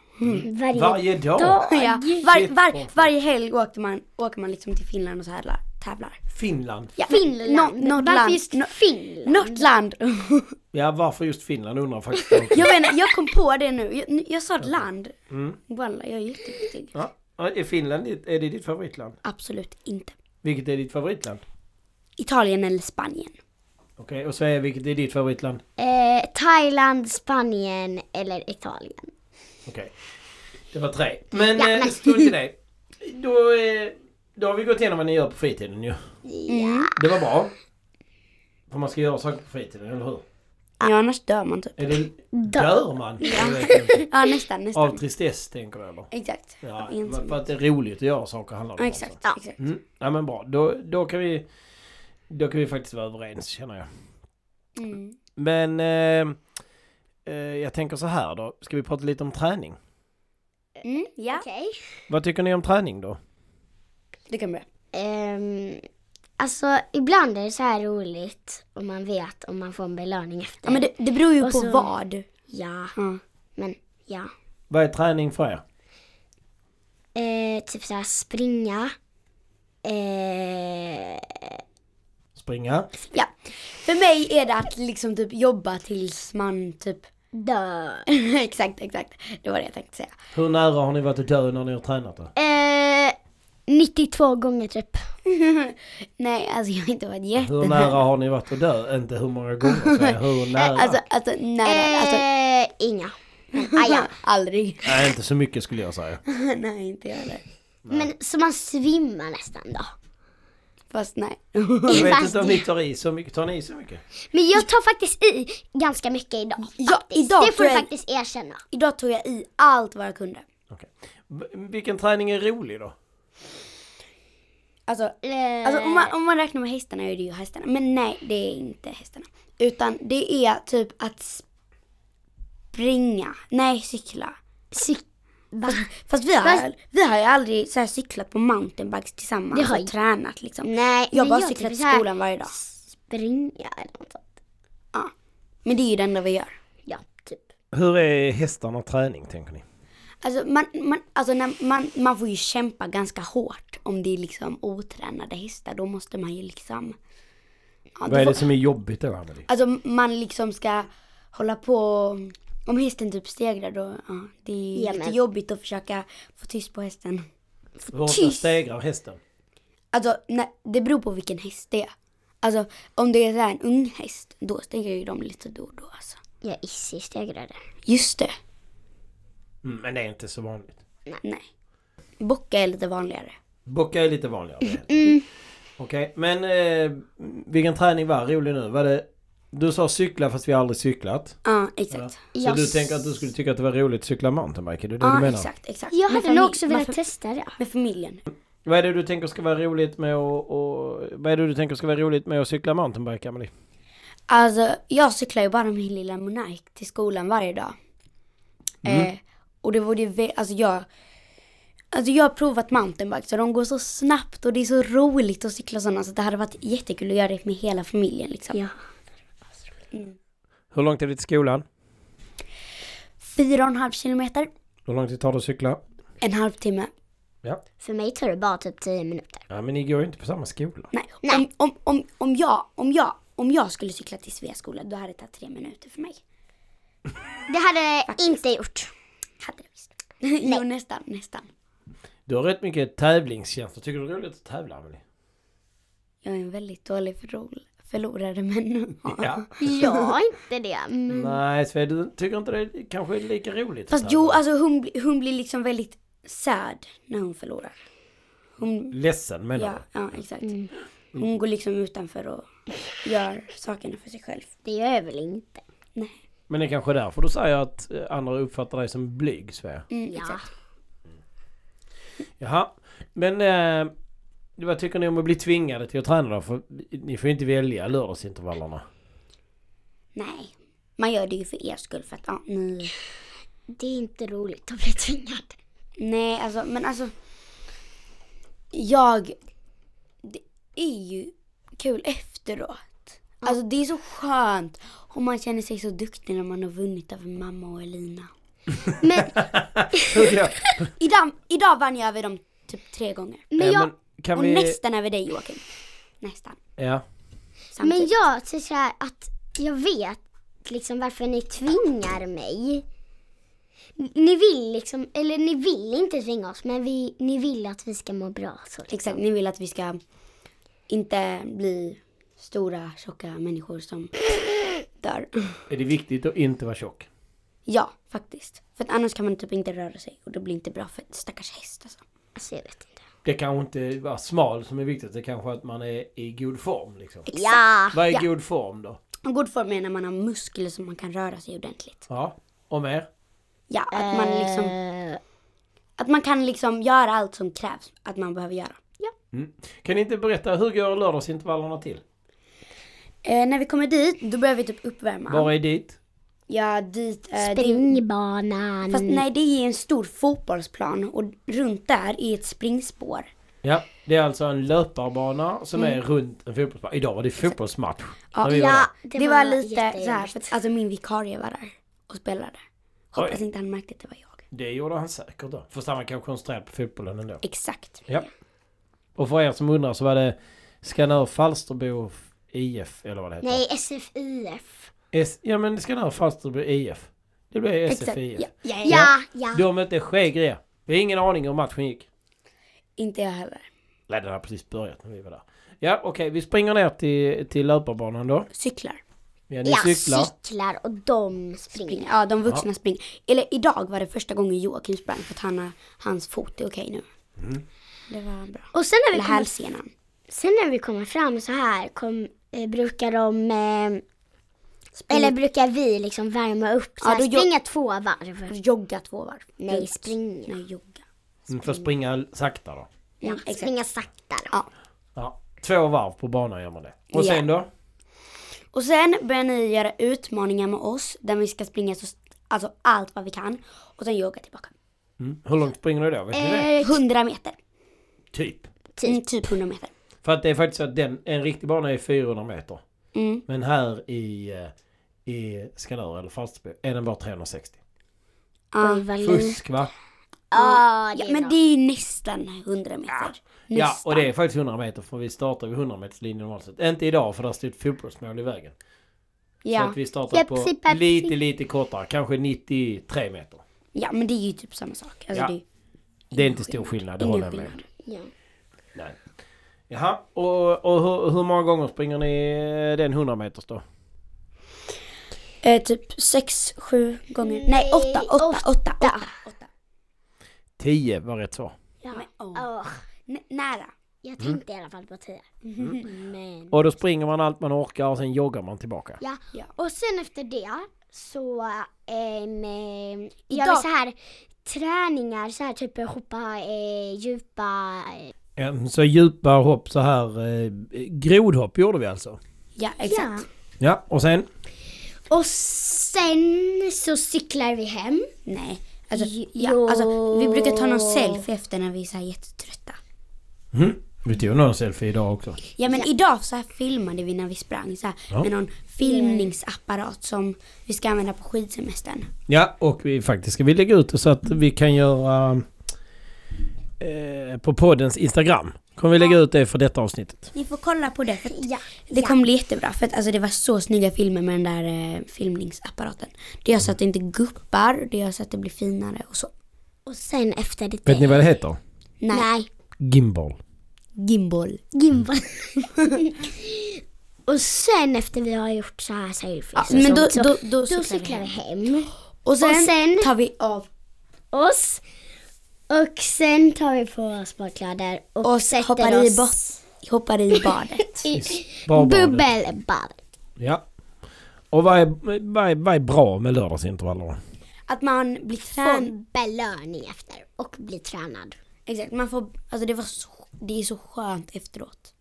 Speaker 4: Varje
Speaker 1: Varje dag?
Speaker 3: Ja. Var,
Speaker 1: Mm. Shit, vad
Speaker 3: var,
Speaker 1: fett.
Speaker 3: varje helg åker man, åker man liksom till Finland och så här la- tävlar.
Speaker 1: Finland?
Speaker 3: Ja.
Speaker 4: Finland.
Speaker 3: Nå- något
Speaker 4: Varför
Speaker 3: land.
Speaker 4: just
Speaker 3: Nå-
Speaker 4: Finland?
Speaker 3: Något land. <laughs>
Speaker 1: Ja, varför just Finland undrar jag faktiskt jag också.
Speaker 3: jag vet inte, jag kom på det nu. Jag, jag sa ett land.
Speaker 1: Mm.
Speaker 3: Walla, jag är jätteduktig.
Speaker 1: ja. Ja, Är Finland ditt- är det ditt favoritland?
Speaker 3: Absolut inte.
Speaker 1: Vilket är ditt favoritland?
Speaker 3: Italien eller Spanien.
Speaker 1: Okej, och Sverige, vilket är ditt favoritland?
Speaker 4: Eh, Thailand, Spanien eller Italien.
Speaker 1: Okej. Det var tre. Men,
Speaker 4: Ja,
Speaker 1: ja,
Speaker 4: men-
Speaker 1: strunt i det. Då, eh, då har vi gått igenom vad ni gör på fritiden ju.
Speaker 4: Ja.
Speaker 1: Det var bra. För man ska göra saker på fritiden, eller hur?
Speaker 3: Ja, annars dör man typ.
Speaker 1: Är det,
Speaker 5: Då,
Speaker 1: dör man? Jag vet inte.
Speaker 3: Ja, nästan, nästan.
Speaker 1: Eh. Av tristess tänker jag eller?
Speaker 3: Exakt.
Speaker 1: Ja,
Speaker 3: Av ensamhet.
Speaker 1: för att det är roligt att göra saker handlar det
Speaker 3: Ja,
Speaker 1: om.
Speaker 3: exakt.
Speaker 5: Ja.
Speaker 3: exakt.
Speaker 1: alltså. Mm. Ja men bra, då, då kan vi Då kan vi faktiskt vara överens känner jag.
Speaker 3: Mm.
Speaker 1: Men eh, eh, jag tänker så här då, ska vi prata lite om träning?
Speaker 3: Mm, ja,
Speaker 5: okej.
Speaker 1: Vad tycker ni om träning då?
Speaker 3: du kan börja.
Speaker 5: Ehm, alltså ibland är det så här roligt om man vet om man får en belöning efter.
Speaker 3: Ja, men det, det beror ju
Speaker 5: Och
Speaker 3: på
Speaker 5: så-
Speaker 3: vad.
Speaker 5: Ja,
Speaker 3: Ja.
Speaker 5: men ja.
Speaker 1: Vad är träning för er?
Speaker 5: Eh, typ så här springa. Eh,
Speaker 1: Springa?
Speaker 3: ja. För mig är det att liksom typ jobba tills man typ...
Speaker 5: dö.
Speaker 3: <laughs> exakt, exakt. Det var det jag tänkte säga.
Speaker 1: Hur nära har ni varit att dö när ni har tränat då?
Speaker 5: Eh, 92 gånger typ.
Speaker 3: Nej, alltså jag har inte varit
Speaker 1: Hur
Speaker 3: jättenära.
Speaker 1: nära har ni varit att dö? Inte hur många gånger säger jag, hur nära?
Speaker 3: Alltså, alltså nära. Alltså,
Speaker 5: Eh, inga.
Speaker 3: <laughs>
Speaker 5: Men, ah, ja.
Speaker 3: aldrig.
Speaker 1: Nej inte så mycket skulle jag säga.
Speaker 3: nej, inte jag heller.
Speaker 5: men så man svimmar nästan då.
Speaker 3: Fast nej.
Speaker 1: Jag vet
Speaker 5: Fast
Speaker 1: inte om ni tar i så mycket, tar ni i så mycket?
Speaker 5: Men jag tar faktiskt i ganska mycket idag.
Speaker 3: Ja,
Speaker 5: faktiskt.
Speaker 3: idag
Speaker 5: det får
Speaker 3: tror
Speaker 5: du
Speaker 3: jag-
Speaker 5: faktiskt erkänna.
Speaker 3: Idag tog jag i allt vad jag kunde.
Speaker 1: Okej. V- Vilken träning är rolig då?
Speaker 3: Alltså,
Speaker 5: Eh,
Speaker 3: alltså om, man, om man räknar med hästarna är det ju hästarna. Men nej, det är inte hästarna. Utan det är typ att springa. Nej, cykla.
Speaker 5: cyk- va?
Speaker 3: Fast vi har,
Speaker 5: Fast-
Speaker 3: vi har ju aldrig så här cyklat på mountainbikes
Speaker 5: Det
Speaker 3: tillsammans
Speaker 5: har
Speaker 3: och
Speaker 5: jag-
Speaker 3: tränat liksom.
Speaker 5: Nej,
Speaker 3: jag har
Speaker 5: men
Speaker 3: bara
Speaker 5: jag
Speaker 3: cyklat till
Speaker 5: typ så här-
Speaker 3: skolan varje dag.
Speaker 5: Springa eller något sånt.
Speaker 3: Ja. Men det är ju det enda vi gör.
Speaker 5: Ja, typ.
Speaker 1: Hur är hästarna träning tänker ni?
Speaker 3: Alltså, man, man, alltså när man, man får ju kämpa ganska hårt om det är liksom otränade hästar. Då måste man ju liksom... Ja,
Speaker 1: Vad är
Speaker 3: då
Speaker 1: det
Speaker 3: får,
Speaker 1: som är jobbigt då Anneli?
Speaker 3: alltså man liksom ska hålla på... Om hästen typ stegrar då, ja, det är
Speaker 5: Ja,
Speaker 3: lite
Speaker 5: men-
Speaker 3: jobbigt att försöka få tyst på hästen.
Speaker 1: Hur ofta
Speaker 3: Tyst.
Speaker 1: stegrar hästen?
Speaker 3: Alltså, nej, det beror på vilken häst det är. Alltså, om det är så här en ung häst, då stegrar ju de lite då och då alltså.
Speaker 5: Jag Issi stegrade.
Speaker 3: Just det.
Speaker 1: Mm, men det är inte så vanligt.
Speaker 3: Nej. Bocka är lite vanligare.
Speaker 1: Bocka är lite vanligare. det heter. Okej, men eh, vilken träning var rolig nu? Var det, du sa cykla fast vi har aldrig cyklat.
Speaker 3: Ja, exakt.
Speaker 1: Så
Speaker 5: Jag
Speaker 1: du
Speaker 5: s-
Speaker 1: tänker att du skulle tycka att det var roligt att cykla mountainbike? Är det det du
Speaker 3: Ja,
Speaker 1: menar?
Speaker 3: exakt, exakt.
Speaker 5: Jag
Speaker 3: Med
Speaker 5: hade
Speaker 3: familj-
Speaker 5: nog också velat
Speaker 3: med fa-
Speaker 5: testa det.
Speaker 3: Med familjen.
Speaker 1: Vad är det du tänker ska vara roligt med att och, Vad är det du tänker ska vara roligt med att cykla mountainbike, Amelie?
Speaker 3: Alltså, jag cyklar ju bara med min lilla Monark till skolan varje dag. Eh, och det var det, vä- alltså jag, alltså jag har provat mountainbike så de går så snabbt och det är så roligt att cykla sådana så det hade varit jättekul att göra det med hela familjen liksom.
Speaker 5: Ja.
Speaker 1: Hur långt är det till skolan?
Speaker 3: Fyra och en halv kilometer,
Speaker 1: Hur långt tar det att cykla?
Speaker 3: en halvtimme.
Speaker 1: Ja.
Speaker 5: För mig tar det bara typ 10 minuter.
Speaker 1: ja, men ni går ju inte på samma skola.
Speaker 3: Nej, Om, om, om, om, jag, om, jag, om jag skulle cykla till Sveaskola då hade det tagit tre minuter för mig. <laughs>
Speaker 5: Det hade jag inte gjort.
Speaker 3: Hade det visst. jo, nästan, nästan.
Speaker 1: Du har rätt mycket tävlingskänslor. Tycker du det är roligt att tävla, Amelie?
Speaker 3: Jag är en väldigt dålig förlor- förlorare men ja.
Speaker 1: Ja.
Speaker 3: <laughs>
Speaker 5: Jag inte det. Mm. men-
Speaker 1: Nej, Sve, du tycker inte det är- kanske är lika roligt?
Speaker 3: Fast
Speaker 1: att
Speaker 3: jo,
Speaker 1: tävla?
Speaker 3: alltså hon, bli- hon blir liksom väldigt sad när hon förlorar. Hon,
Speaker 1: Ledsen menar
Speaker 3: ja,
Speaker 1: du?
Speaker 3: ja exakt. Hon går liksom utanför och gör sakerna för sig själv.
Speaker 5: Det gör jag väl inte.
Speaker 1: Men det är kanske är därför du säger att eh, andra uppfattar dig som blyg, Svea.
Speaker 3: Mm,
Speaker 5: Ja.
Speaker 3: exakt.
Speaker 1: Jaha. Men eh, vad tycker ni om att bli tvingade till att träna då? För ni får ju inte välja lördagsintervallerna.
Speaker 3: Nej, man gör det ju för er skull för att ja, ni...
Speaker 5: Det är inte roligt att bli tvingad.
Speaker 3: Nej, alltså men alltså. Jag... Det är ju kul efteråt. Alltså det är så skönt. Och man känner sig så duktig när man har vunnit över mamma och Elina.
Speaker 5: Men,
Speaker 3: Idag, idag vann jag över dem typ tre gånger.
Speaker 5: men,
Speaker 1: Eh,
Speaker 5: jag,
Speaker 1: kan
Speaker 3: Och
Speaker 1: vi...
Speaker 3: nästan över dig Joakim. Nästan.
Speaker 1: Ja.
Speaker 3: Samtidigt.
Speaker 5: men jag tycker så här att jag vet liksom varför ni tvingar mig. Ni vill liksom, eller ni vill inte tvinga oss men vi, ni vill att vi ska må bra. Så.
Speaker 3: Exakt, ni vill att vi ska inte bli stora tjocka människor som dör.
Speaker 1: Är det viktigt att inte vara tjock?
Speaker 3: Ja, faktiskt. För att annars kan man typ inte röra sig och det blir inte bra för ett stackars häst alltså.
Speaker 5: Alltså jag vet inte.
Speaker 1: Det kanske inte vara smal som är viktigt. Det kanske är att man är i god form liksom.
Speaker 5: Ja!
Speaker 1: Vad är god form då?
Speaker 3: Och god form är när man har muskler som man kan röra sig ordentligt.
Speaker 1: Ja. Och mer?
Speaker 3: Ja, att man liksom,
Speaker 5: Eh,
Speaker 3: att man kan liksom göra allt som krävs att man behöver göra.
Speaker 1: Kan ni inte berätta, hur går lördagsintervallerna till?
Speaker 3: Eh, när vi kommer dit, då börjar vi typ uppvärma.
Speaker 1: Var är dit?
Speaker 3: Ja, dit... Eh, det är,
Speaker 5: Springbanan.
Speaker 3: fast nej, det är en stor fotbollsplan och runt där är ett springspår.
Speaker 1: Ja, det är alltså en löparbana som är runt en fotbollsmatch. Idag var det fotbollsmatch.
Speaker 3: Ja,
Speaker 1: när vi var
Speaker 5: Mm. ja,
Speaker 1: där.
Speaker 3: Det, var, lite
Speaker 5: jättejobbigt.
Speaker 3: så här, för att, alltså min vikarie var där och spelade. Hoppas inte han märkte att det var jag.
Speaker 1: det gjorde han säkert då. Fast han var kanske koncentrerad på fotbollen ändå.
Speaker 3: Exakt.
Speaker 1: Ja. Och för er som undrar så var det Skanör Falsterbo IF eller vad det heter.
Speaker 5: Nej, SFIF.
Speaker 1: S- ja men Skanör Falsterbo IF. Det blev
Speaker 3: Exakt.
Speaker 1: SFIF.
Speaker 3: Ja, ja, ja.
Speaker 5: Ja, ja.
Speaker 1: De mötte Skegrie. Vi har ingen aning om hur matchen gick.
Speaker 3: Inte jag heller.
Speaker 1: Nej den har precis börjat när vi var där. Ja okej vi springer ner till, till löparbanan då.
Speaker 3: Cyklar.
Speaker 1: Ja ni
Speaker 5: Ja,
Speaker 1: cyklar.
Speaker 5: cyklar och de springer.
Speaker 3: Springer. Ja, de vuxna springer. Eller idag var det första gången Joakim sprang för att han, har- hans fot är okej nu. Mm. Det var bra.
Speaker 5: Och sen när vi
Speaker 3: Eller
Speaker 5: kommer
Speaker 3: hälsenan.
Speaker 5: Sen när vi kommer fram så här kom, eh, brukar de, eh, eller brukar vi liksom värma upp så
Speaker 3: Ja,
Speaker 5: här,
Speaker 3: då gör-
Speaker 5: springa två varv.
Speaker 3: Jogga två varv.
Speaker 5: Nej, springa.
Speaker 3: Nej, jogga.
Speaker 1: Mm, För att springa sakta då.
Speaker 5: Ja,
Speaker 3: exakt.
Speaker 5: springa sakta då.
Speaker 3: Ja.
Speaker 1: Ja. Två varv på banan gör man det. Och
Speaker 3: Ja.
Speaker 1: sen då?
Speaker 3: Och sen börjar ni göra utmaningar med oss där vi ska springa så, alltså allt vad vi kan och sen jogga tillbaka.
Speaker 1: Mm. Hur långt springer du då? Vet ni
Speaker 5: Eh,
Speaker 1: det?
Speaker 3: 100 meter.
Speaker 1: Typ.
Speaker 3: Mm, typ 100 meter.
Speaker 1: För att det är faktiskt så att den, en riktig bana är 400 meter.
Speaker 3: Mm.
Speaker 1: Men här i, eh, i Skanör eller Falsterbo är den bara 360.
Speaker 5: Oj, vad
Speaker 3: Mm.
Speaker 5: lite.
Speaker 1: Fusk va?
Speaker 5: Ja, det
Speaker 3: Ja,
Speaker 5: är
Speaker 3: men
Speaker 5: bra.
Speaker 3: det är ju nästan 100 meter.
Speaker 1: Ja, och det är faktiskt 100 meter för vi startar vid 100 meters linje normalt sett. Inte idag för där stod ett fotbollsmål i vägen. Så
Speaker 3: Ja.
Speaker 1: att vi startar
Speaker 5: Japp,
Speaker 1: på
Speaker 5: sipp, japp,
Speaker 1: lite,
Speaker 5: sipp.
Speaker 1: lite kortare. Kanske 93 meter.
Speaker 3: ja, men det är ju typ samma sak. Alltså,
Speaker 1: Ja.
Speaker 3: det är ju
Speaker 1: Det är inte stor skillnad, det håller
Speaker 3: ingen
Speaker 1: jag med om.
Speaker 3: skillnad.
Speaker 5: Ja.
Speaker 1: Nej. Jaha, och, och hur, hur många gånger springer ni eh, den 100 meters då?
Speaker 3: Eh, typ 6, 7 gånger. Nej, 8, 8, 8, 8.
Speaker 1: 10 var rätt svar.
Speaker 5: Ja.
Speaker 3: Men, åh.
Speaker 5: Åh,
Speaker 3: N- nära. Mm.
Speaker 5: jag tänkte i alla fall på tio. <laughs> Men.
Speaker 1: Och då springer man allt man orkar och sen joggar man tillbaka.
Speaker 5: Ja.
Speaker 3: Ja.
Speaker 5: Och sen efter det så ehm, eh, gör vi
Speaker 3: Idag-
Speaker 5: så här träningar, så här typ hoppa eh, djupa. Eh,
Speaker 1: En Så djupa hopp så här. Eh, grodhopp gjorde vi alltså.
Speaker 3: Ja, exakt.
Speaker 1: Ja, och sen?
Speaker 5: Och sen så cyklar vi hem.
Speaker 3: Nej. Alltså,
Speaker 5: Jo.
Speaker 3: ja, alltså, vi brukar ta någon selfie efter när vi är så här jättetrötta.
Speaker 1: Mhm. Vi tog någon selfie idag också.
Speaker 3: Ja men idag så här filmade vi när vi sprang så här,
Speaker 1: Ja.
Speaker 3: med någon filmningsapparat som vi ska använda på skidsemestern.
Speaker 1: Ja, och vi faktiskt ska vi lägga ut det så att vi kan göra eh, på poddens Instagram. Kommer vi lägga ut det för detta avsnittet.
Speaker 3: Ni får kolla på det för att
Speaker 5: Ja.
Speaker 3: det kommer bli jättebra för att alltså, det var så snygga filmer med den där eh, filmningsapparaten. Det gör så att det inte guppar, det gör så att det blir finare och så.
Speaker 5: Och sen efter det.
Speaker 1: Vet ni vad det heter?
Speaker 3: Nej,
Speaker 5: Nej.
Speaker 1: Gimbal.
Speaker 3: gimbal.
Speaker 5: Gimbal. <laughs> och sen efter vi har gjort så här selfies
Speaker 3: Ja,
Speaker 5: och
Speaker 3: men då,
Speaker 5: sånt, så,
Speaker 3: då, Alltså, då,
Speaker 5: då
Speaker 3: cyklar vi
Speaker 5: cyklar vi
Speaker 3: hem.
Speaker 5: hem.
Speaker 3: Och sen,
Speaker 5: och sen-
Speaker 3: tar vi av
Speaker 5: Oss. Och sen tar vi på oss badkläder och,
Speaker 3: och
Speaker 5: sätter
Speaker 3: hoppar i,
Speaker 5: oss
Speaker 3: bot- hoppar i badet.
Speaker 5: i
Speaker 1: Barbadet.
Speaker 5: bubbelbad.
Speaker 1: Ja. Och vad är, vad är, vad är bra med lördagsintervaller?
Speaker 3: <laughs> Att man blir
Speaker 5: Får
Speaker 3: tränad.
Speaker 5: belöning efter och blir tränad.
Speaker 3: Exakt, man får, alltså det, var så, det är så skönt efteråt.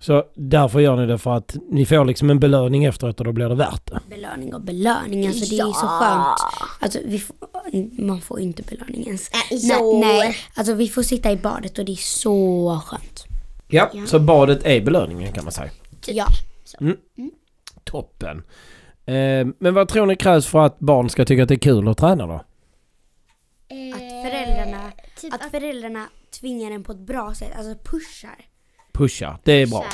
Speaker 1: Så därför gör ni det för att ni får liksom en belöning efteråt och då blir det värt det.
Speaker 3: Belöning och belöning, alltså det är så
Speaker 5: Ja.
Speaker 3: skönt. Alltså vi får, man får ju inte belöning ens.
Speaker 5: jo.
Speaker 3: Nej, nej, alltså vi får sitta i badet och det är så skönt.
Speaker 1: Ja, så badet är belöningen kan man säga.
Speaker 3: Ja,
Speaker 1: Toppen. Eh, men vad tror ni krävs för att barn ska tycka att det är kul att träna då?
Speaker 3: att föräldrarna,
Speaker 5: typ
Speaker 3: att föräldrarna tvingar en på ett bra sätt, alltså pushar.
Speaker 1: Pusha, det är bra.
Speaker 5: så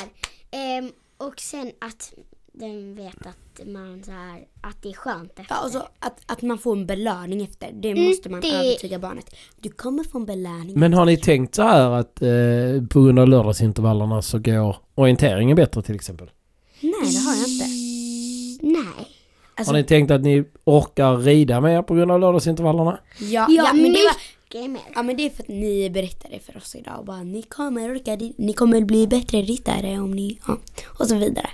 Speaker 5: här. Ehm, och sen att den vet att man så här, att det är skönt efter.
Speaker 3: Ja, alltså att, att man får en belöning efter, det måste man
Speaker 5: det-
Speaker 3: övertyga barnet. Du kommer få en belöning.
Speaker 1: Men har ni tänkt så här att eh, på grund av lördagsintervallerna så går orienteringen bättre till exempel?
Speaker 3: Nej, det har jag inte.
Speaker 5: Nej.
Speaker 3: Alltså-
Speaker 1: har ni tänkt att ni orkar rida mer på grund av lördagsintervallerna?
Speaker 3: Ja,
Speaker 5: Ja,
Speaker 3: ja, men det var,
Speaker 5: mycket mer.
Speaker 3: Ja men det är för att ni berättar det för oss idag och bara ni kommer orka, ri- ni kommer bli bättre ryttare om ni, ja, och så vidare.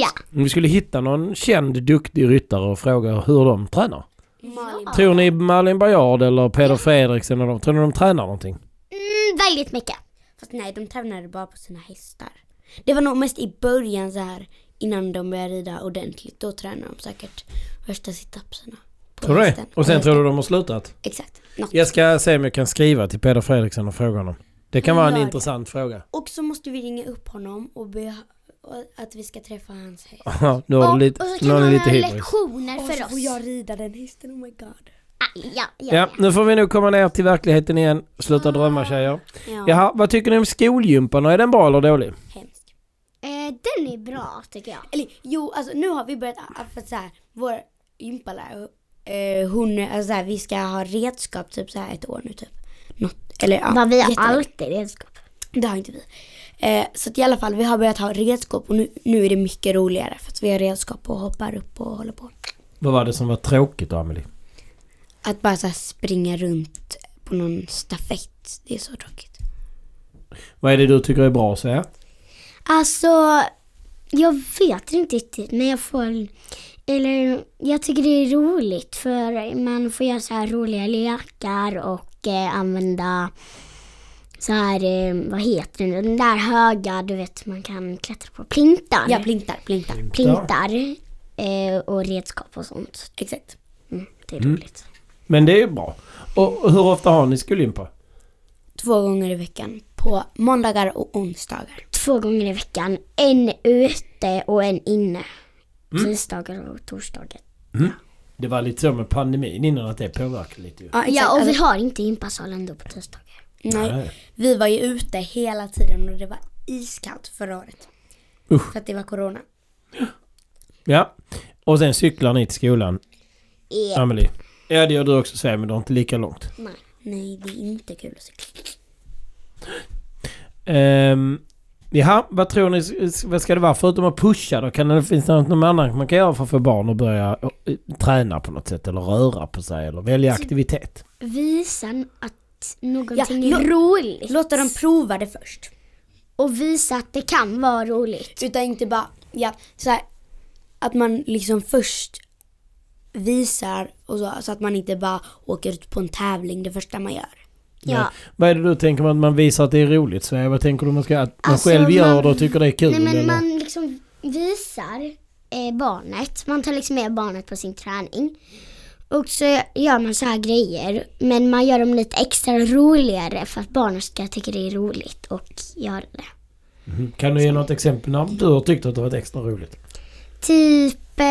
Speaker 5: Ja.
Speaker 1: Om vi skulle hitta någon känd, duktig ryttare och fråga hur de tränar.
Speaker 3: Malin.
Speaker 1: Tror ni Malin Baryard eller Peder Fredriksen eller de, tror ni de tränar någonting?
Speaker 5: Mm, väldigt mycket.
Speaker 3: Fast nej, de tränade bara på sina hästar. Det var nog mest i början så här innan de började rida ordentligt. Då tränade de säkert första situpserna. på
Speaker 1: Tror du det?
Speaker 3: hästen.
Speaker 1: Och sen
Speaker 3: På
Speaker 1: tror du de har slutat?
Speaker 3: hästen. Exakt. Något.
Speaker 1: Jag ska se om jag kan skriva till Peder Fredriksson och fråga honom. Det kan vara en
Speaker 3: Gör det.
Speaker 1: intressant fråga.
Speaker 3: Och så måste vi ringa upp honom och be och att vi ska träffa hans häst.
Speaker 1: Ja, nu har du lite,
Speaker 5: och så
Speaker 1: nu
Speaker 5: kan
Speaker 1: har du
Speaker 5: man
Speaker 1: lite
Speaker 5: ha
Speaker 1: hybris.
Speaker 5: lektioner
Speaker 3: Och
Speaker 5: för
Speaker 3: så
Speaker 5: oss.
Speaker 3: får jag rida den hästen, oh my god.
Speaker 5: Ah, ja, ja,
Speaker 1: Ja,
Speaker 5: ja.
Speaker 1: nu får vi nog komma ner till verkligheten igen. Sluta drömma tjejer.
Speaker 3: Ja,
Speaker 1: Jaha, vad tycker ni om skolgympan? Är den bra eller dålig?
Speaker 3: hemskt.
Speaker 5: Eh, den är bra tycker jag.
Speaker 3: Eller jo, alltså nu har vi börjat, ah, för att så här, vår gympalärare, eh, hon, alltså så här, vi ska ha redskap typ så här ett år nu typ. Något, eller ja.
Speaker 5: Men vi har
Speaker 3: jättelänge.
Speaker 5: alltid redskap.
Speaker 3: Det har inte vi. Eh, så att i alla fall, vi har börjat ha redskap och nu, nu är det mycket roligare för att vi har redskap och hoppar upp och håller på.
Speaker 1: Vad var det som var tråkigt då, Amelie?
Speaker 3: Att bara så här springa runt på någon stafett, det är så tråkigt.
Speaker 1: Vad är det du tycker är bra att säga?
Speaker 5: Alltså, jag vet inte riktigt men jag får... Eller jag tycker det är roligt för man får göra så här roliga lekar och eh, använda så här, eh, vad heter det nu, den där höga, du vet man kan klättra på, plintar.
Speaker 3: Ja, plintar, plintar.
Speaker 5: plintar eh, och redskap och sånt.
Speaker 3: Exakt.
Speaker 5: Mm, det är roligt.
Speaker 1: Men det är ju bra. Och och hur ofta har ni skolgympa?
Speaker 3: Två gånger i veckan på måndagar och onsdagar.
Speaker 5: Två gånger i veckan, en ute och en inne. Tisdagar och torsdagar.
Speaker 1: Det var lite så med pandemin innan att det påverkade lite ju.
Speaker 3: Ja, exakt.
Speaker 5: Ja, och vi
Speaker 3: Alltså,
Speaker 5: har inte gympasal ändå på tisdagar.
Speaker 3: nej, vi var ju ute hela tiden och det var iskallt förra året.
Speaker 1: Usch.
Speaker 3: För att det var corona.
Speaker 1: Ja. Och sen cyklar ni till skolan, Amelie. Ja, det gör du också Sven, men du har inte lika långt.
Speaker 3: Nej, det är inte kul att cykla.
Speaker 1: Um, jaha, vad tror ni, s- vad ska det vara förutom att pusha då? Kan det, finns det något något annat man kan göra för att få barn att börja eh, träna på något sätt? Eller röra på sig? Eller välja aktivitet?
Speaker 5: Visa att någonting
Speaker 3: Ja,
Speaker 5: är
Speaker 3: lo-
Speaker 5: roligt.
Speaker 3: Låta dem prova det först.
Speaker 5: Och visa att det kan vara roligt.
Speaker 3: Utan inte bara, ja, så här, att man liksom först visar och så, så att man inte bara åker ut på en tävling det första man gör.
Speaker 5: Ja.
Speaker 1: Nej. Vad är det du tänker man, att man visar att det är roligt? Sverige? Vad tänker du man ska, att man
Speaker 5: Alltså,
Speaker 1: själv gör
Speaker 5: man-
Speaker 1: det och tycker det är kul?
Speaker 5: Nej men
Speaker 1: eller?
Speaker 5: man liksom visar eh, barnet. Man tar liksom med barnet på sin träning. Och så gör man så här grejer. Men man gör dem lite extra roligare för att barnet ska tycka det är roligt och göra det.
Speaker 1: Mhm. Kan du ge något exempel när du har tyckt att det har varit extra roligt?
Speaker 5: Typ eh,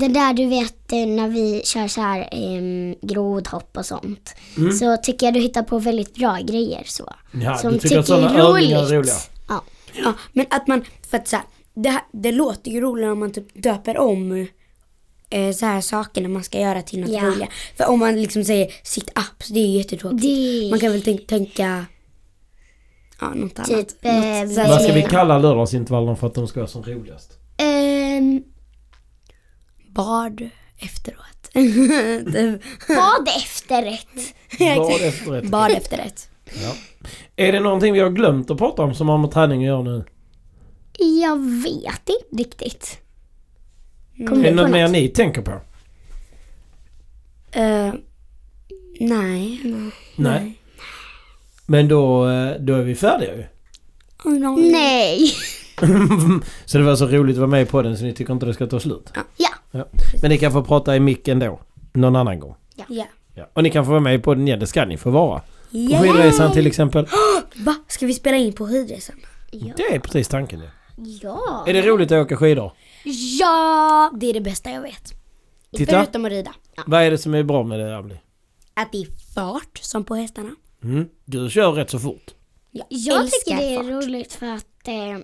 Speaker 5: det där du vet eh, när vi kör så här eh, grodhopp och sånt. Så tycker jag du hittar på väldigt bra grejer så.
Speaker 1: Mm. Ja,
Speaker 5: som
Speaker 1: du tycker att sådana
Speaker 5: är
Speaker 1: övningar är
Speaker 5: roligt.
Speaker 1: roliga?
Speaker 5: Ja.
Speaker 3: Ja, men att man, för att så här, det, här- det låter ju roligare om man typ döper om eh, så här saker när man ska göra till något
Speaker 5: Ja.
Speaker 3: roligare. För om man liksom säger sit-ups, det är ju jättetråkigt.
Speaker 5: Det-
Speaker 3: Man kan väl tänk, tänka, ja, något annat.
Speaker 5: Typ, eh,
Speaker 3: något, så här,
Speaker 1: Vad ska
Speaker 5: som
Speaker 1: vi
Speaker 5: är-
Speaker 1: kalla lördagsintervallerna för att de ska vara som
Speaker 5: <laughs>
Speaker 1: roligast?
Speaker 5: Ehm,
Speaker 3: bad efteråt. <laughs> Typ.
Speaker 5: bad efterrätt.
Speaker 1: Vad efterrätt?
Speaker 3: bad efterrätt.
Speaker 1: Ja. Är det någonting vi har glömt att prata om som har med träning att göra
Speaker 5: Mm.
Speaker 1: nu?
Speaker 5: Jag vet inte riktigt. Kommer
Speaker 1: Är det
Speaker 5: du på
Speaker 1: något mer
Speaker 5: något?
Speaker 1: ni tänker på?
Speaker 3: Eh, nej.
Speaker 1: Nej. Men då, eh, då är vi färdiga ju.
Speaker 3: Oh, no.
Speaker 5: Nej.
Speaker 1: så det var så roligt att vara med på den så ni tycker inte det ska ta slut.
Speaker 5: Ja.
Speaker 1: Men ni kan få prata i micken då. Någon annan gång.
Speaker 3: Ja.
Speaker 1: Ja. Och ni kan få vara med på den igen, det ska ni få vara. På
Speaker 3: Yeah.
Speaker 1: skidresan till exempel.
Speaker 3: Va? Ska vi spela in på skidresan?
Speaker 1: Det är precis tanken ju.
Speaker 5: Ja.
Speaker 1: Är det roligt att åka skidor?
Speaker 3: Ja! Det är det bästa jag vet.
Speaker 1: Titta.
Speaker 3: Förutom att rida.
Speaker 1: Vad är det som är bra med det Amelie?
Speaker 3: Att det är fart som på hästarna.
Speaker 1: Mm. Du kör rätt så fort.
Speaker 5: Jag
Speaker 3: älskar
Speaker 5: tycker det är
Speaker 3: fart.
Speaker 5: roligt för att eh,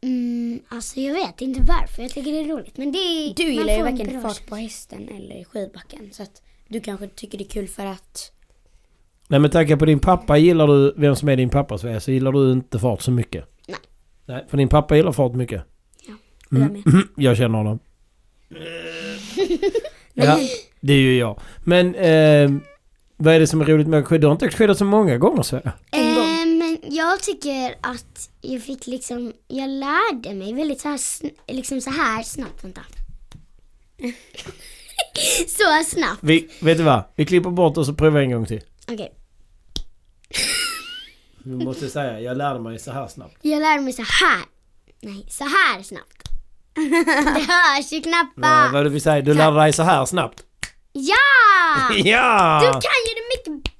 Speaker 5: Mm, alltså jag vet inte varför jag tycker det är roligt men det är,
Speaker 3: Du
Speaker 5: man
Speaker 3: gillar ju
Speaker 5: får en
Speaker 3: varken
Speaker 5: bra
Speaker 3: fart på hästen eller i skidbacken. Så att du kanske tycker det är kul för att...
Speaker 1: Nej men tanke på din pappa, gillar du vem som är din pappa Sverige så gillar du inte fart så mycket.
Speaker 5: Nej.
Speaker 1: Nej, för din pappa gillar fart mycket. <clears throat>
Speaker 3: Mm.
Speaker 1: Mm. Jag känner honom. Ja, det är ju jag. Men eh, Vad är det som är roligt med att skida? Du har inte skidat så många gånger så.
Speaker 3: En gång.
Speaker 4: Eh, men jag tycker att jag fick liksom, jag lärde mig väldigt så här, sn- liksom så här snabbt, vänta. <laughs> så snabbt.
Speaker 1: Vi, vet du vad? Vi klipper bort och så provar en gång till.
Speaker 4: Okej,
Speaker 1: <laughs> Du måste säga, jag lärde mig så här snabbt.
Speaker 4: jag lärde mig så här. Nej, så här snabbt. Det hörs ju
Speaker 1: Vad,
Speaker 4: knappar.
Speaker 1: vad du vill säga? Du lärde dig så här snabbt?
Speaker 4: Ja!
Speaker 1: Ja!
Speaker 4: Du kan ju det mycket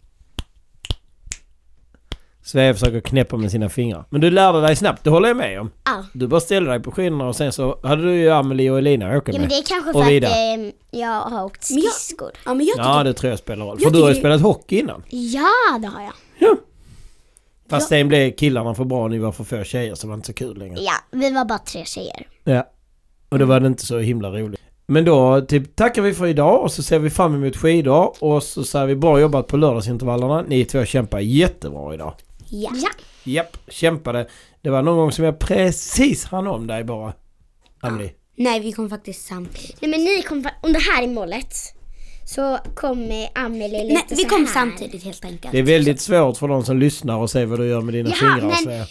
Speaker 1: Svea försöker knäppa med sina fingrar. Men du lärde dig snabbt, det håller jag med om.
Speaker 4: Ja.
Speaker 1: Du bara ställde dig på skidorna och sen så hade du ju Amelie och Elina att åka
Speaker 4: Ja
Speaker 1: med.
Speaker 4: men det är kanske
Speaker 1: Och
Speaker 4: för att
Speaker 1: vidare.
Speaker 4: ehm, jag har åkt
Speaker 3: Men jag-
Speaker 4: skridskor.
Speaker 3: Ja men jag tycker,
Speaker 1: Ja, det tror jag spelar roll. För
Speaker 3: Jag
Speaker 1: du har ju
Speaker 3: tycker-
Speaker 1: spelat hockey innan.
Speaker 4: Ja, det har jag.
Speaker 1: Fast sen blev killarna för bra och ni var för få tjejer så det var inte så kul längre.
Speaker 4: Ja, vi var bara tre tjejer.
Speaker 1: Ja. Och då var det inte så himla roligt. Men då typ tackar vi för idag och så ser vi fram emot skidor och så säger vi bra jobbat på lördagsintervallerna. Ni två kämpar jättebra idag.
Speaker 4: Ja.
Speaker 1: Japp, kämpade. Det var någon gång som jag precis hann om dig bara. Amelie.
Speaker 3: nej vi kom faktiskt samtidigt.
Speaker 4: Nej men ni kom, fa- om det här är målet så kommer Amelie lite
Speaker 3: Nej vi
Speaker 4: så
Speaker 3: kom
Speaker 4: här.
Speaker 3: samtidigt helt enkelt.
Speaker 1: Det är väldigt svårt för de som lyssnar och ser vad du gör med dina
Speaker 4: Jaha,
Speaker 1: fingrar.
Speaker 4: men-
Speaker 1: säger jag.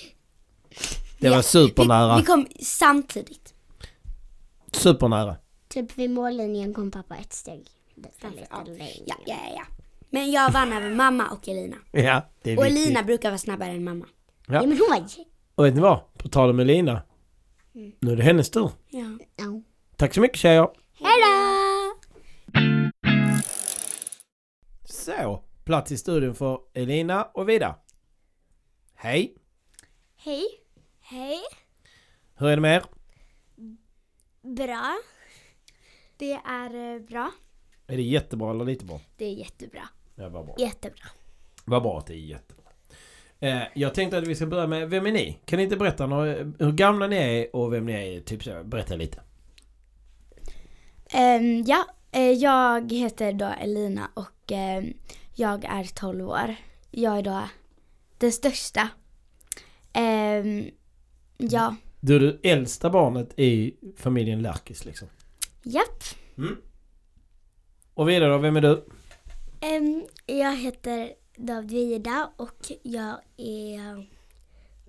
Speaker 1: Det
Speaker 3: Ja,
Speaker 1: var supernära.
Speaker 3: Vi, vi kom samtidigt.
Speaker 1: Supernära.
Speaker 4: Typ vid mållinjen kom pappa ett steg. Det var lite
Speaker 3: Ja.
Speaker 4: längre.
Speaker 3: Ja, ja, ja. Men jag vann över mamma och Elina.
Speaker 1: Ja, det är
Speaker 3: Och
Speaker 1: viktigt.
Speaker 3: Elina brukar vara snabbare än mamma.
Speaker 1: Ja.
Speaker 4: Ja men hon var... j-
Speaker 1: Och vet ni vad? På tal om Elina.
Speaker 3: Mm.
Speaker 1: Nu är det hennes tur.
Speaker 3: Ja.
Speaker 4: Ja.
Speaker 1: Tack så mycket tjejer.
Speaker 3: Hejdå!
Speaker 1: Så, plats i studion för Elina och Vida. Hej,
Speaker 4: Hej. Hej.
Speaker 1: hur är det med er?
Speaker 4: Bra. Det är eh, bra.
Speaker 1: Är det jättebra eller lite bra?
Speaker 4: Det är jättebra.
Speaker 1: Ja, vad bra.
Speaker 4: Jättebra.
Speaker 1: Vad bra att det är jättebra. Eh, jag tänkte att vi ska börja med, vem är ni? Kan ni inte berätta några, hur gamla ni är och vem ni är? Typ så, berätta lite.
Speaker 5: Ehm, ja, eh, jag heter då Elina och ehm, jag är 12 år. Jag är då den största. Ehm, ja,
Speaker 1: Du är det äldsta barnet i familjen Lärkis liksom.
Speaker 5: japp.
Speaker 1: Mm. Och vidare då, vem är du?
Speaker 4: jag heter David Vida och jag är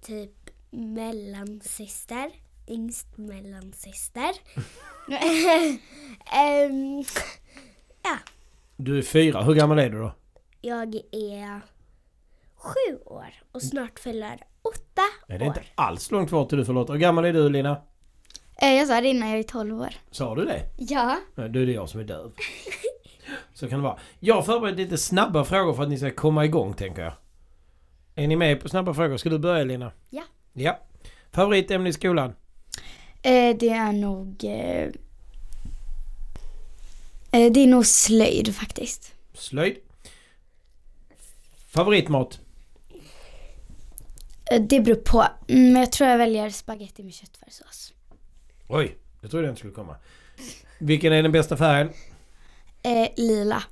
Speaker 4: typ mellansyster. Yngst
Speaker 5: <laughs>
Speaker 4: mellansyster. Ehm,
Speaker 1: Du är fyra, hur gammal är du då?
Speaker 4: jag är sju år och snart fyller åtta
Speaker 1: Nej, det är
Speaker 4: år.
Speaker 1: inte alls långt kvar till du förlåt. Hur gammal är du Lina?
Speaker 5: Eh, jag sa det innan, jag är 12 år.
Speaker 1: Sa du det?
Speaker 4: Ja.
Speaker 1: Nej, då är det jag som är döv. Så kan det vara. Jag har förberett lite snabba frågor för att ni ska komma igång tänker jag. Är ni med på snabba frågor? Ska du börja Lina?
Speaker 4: Ja.
Speaker 1: Ja. Favoritämne i skolan?
Speaker 5: Eh, det är nog... Eh, eh, det är nog slöjd faktiskt.
Speaker 1: Slöjd. Favoritmat?
Speaker 5: Eh, det beror på. Mm, men jag tror jag väljer spaghetti med köttfärssås.
Speaker 1: Oj, jag trodde den skulle komma. Vilken är den bästa färgen?
Speaker 5: Eh, lila.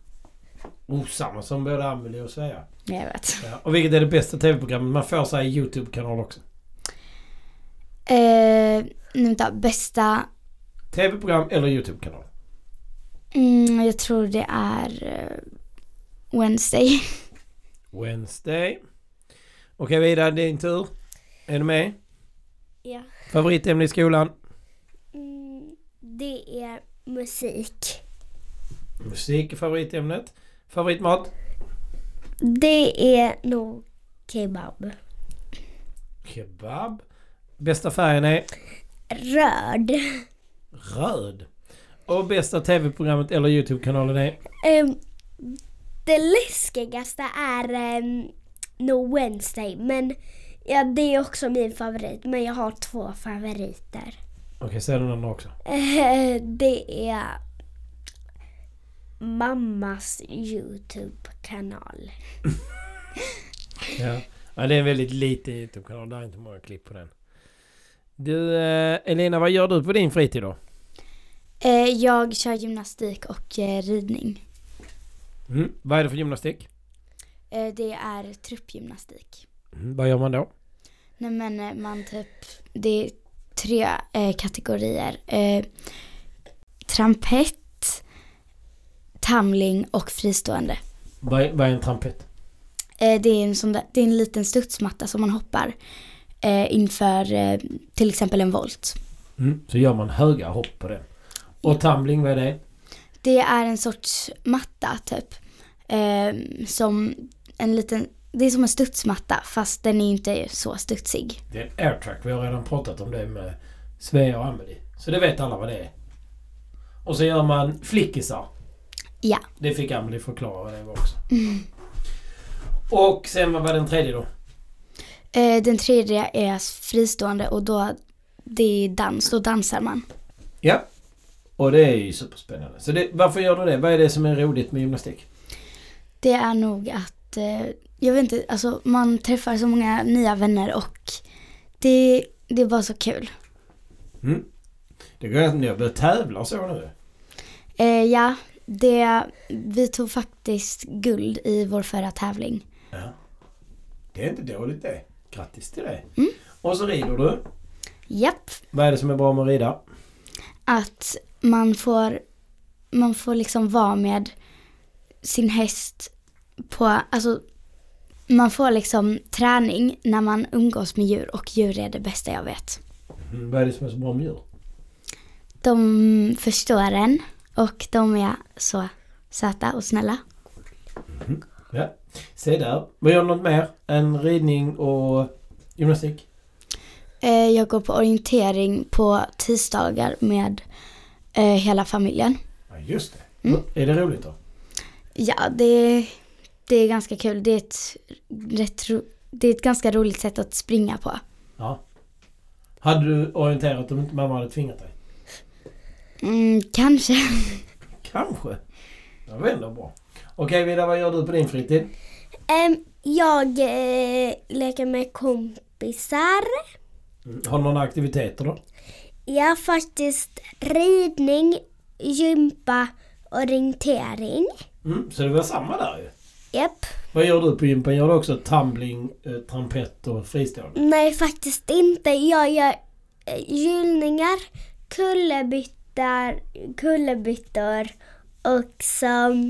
Speaker 1: Oh, samma som både Amelie och Svea.
Speaker 5: Jag vet.
Speaker 1: Ja. Och vilket är det bästa tv-programmet? Man får sig YouTube-kanal också.
Speaker 5: Eh, nu vänta, bästa...
Speaker 1: TV-program eller YouTube-kanal?
Speaker 5: Mm, jag tror det är eh, Wednesday.
Speaker 1: Wednesday. Okej Vidar, din tur. Är du med?
Speaker 4: <laughs> Ja.
Speaker 1: Favoritämne i skolan?
Speaker 4: Mm, det är musik.
Speaker 1: Musik är favoritämnet. Favoritmat?
Speaker 4: Det är nog kebab.
Speaker 1: Kebab. Bästa färgen är?
Speaker 4: Röd.
Speaker 1: Röd. Och bästa tv-programmet eller YouTube-kanalen är?
Speaker 4: Ehm, det läskigaste är um, No Wednesday, men ja, det är också min favorit. Men jag har två favoriter.
Speaker 1: Okej, säg den andra också.
Speaker 4: Eh, det är mammas YouTube-kanal.
Speaker 1: Ja. ja, det är en väldigt liten YouTube-kanal. Det är inte många klipp på den. Du, eh, Elina, vad gör du på din fritid då?
Speaker 5: Eh, jag kör gymnastik och eh, ridning.
Speaker 1: Mm. Vad är det för gymnastik?
Speaker 5: Eh, det är truppgymnastik.
Speaker 1: Mm. Vad gör man då?
Speaker 5: Nej men eh, man typ, det är tre eh, kategorier. Eh, trampett, tamling och fristående.
Speaker 1: Vad är, vad är en trampett?
Speaker 5: Eh, det, är en sån där, det är en liten studsmatta som man hoppar eh, inför eh, till exempel en volt.
Speaker 1: Mm. Så gör man höga hopp på den. Och tumbling, vad är det?
Speaker 5: Det är en sorts matta typ. Eh, som en liten, det är som en studsmatta fast den är inte så studsig.
Speaker 1: Det är en airtrack. Vi har redan pratat om det med Svea och Amelie. Så det vet alla vad det är. Och så gör man flickisar.
Speaker 5: Ja.
Speaker 1: Det fick Amelie förklara vad det var <laughs> också. Och sen vad var den tredje då?
Speaker 5: Eh, den tredje är fristående och då det är dans, då dansar man.
Speaker 1: Ja. Och det är ju superspännande. Så det, varför gör du det? Vad är det som är roligt med gymnastik?
Speaker 5: Det är nog att, eh, jag vet inte, alltså man träffar så många nya vänner och det, det är bara så kul.
Speaker 1: Det går att ni har börjat tävla och så nu.
Speaker 5: Eh, ja, det, vi tog faktiskt guld i vår förra tävling.
Speaker 1: Ja. Det är inte dåligt det. Grattis till det. Och så rider du.
Speaker 5: Japp,
Speaker 1: Vad är det som är bra med att rida?
Speaker 5: att man får, man får liksom vara med sin häst på, alltså man får liksom träning när man umgås med djur och djur är det bästa jag vet.
Speaker 1: Mm, vad är det som är så bra med djur?
Speaker 5: De förstår en och de är så söta och snälla.
Speaker 1: Ja. Se där. Vad gör du något mer än ridning och gymnastik?
Speaker 5: Eh, Jag går på orientering på tisdagar med eh, hela familjen.
Speaker 1: Ja, just det. Är det roligt då?
Speaker 5: Ja, det, det är ganska kul. Det är, ett rätt ro, det är ett ganska roligt sätt att springa på.
Speaker 1: Ja. Hade du orienterat om inte mamma hade tvingat dig?
Speaker 5: Mm, kanske.
Speaker 1: Kanske. Det var ändå bra. Okej Vida, vad gör du på din fritid?
Speaker 4: Ehm, jag eh, leker med kompisar.
Speaker 1: Har du några aktiviteter då?
Speaker 4: Jag har faktiskt ridning, gympa och orientering.
Speaker 1: Mm, så det var samma där ju.
Speaker 4: Japp.
Speaker 1: Vad gör du på gympan? Gör du också tumbling, eh, trampett och fristående?
Speaker 4: Nej, faktiskt inte. Jag gör eh, gyllningar, kullerbyttor, kullerbyttor och så...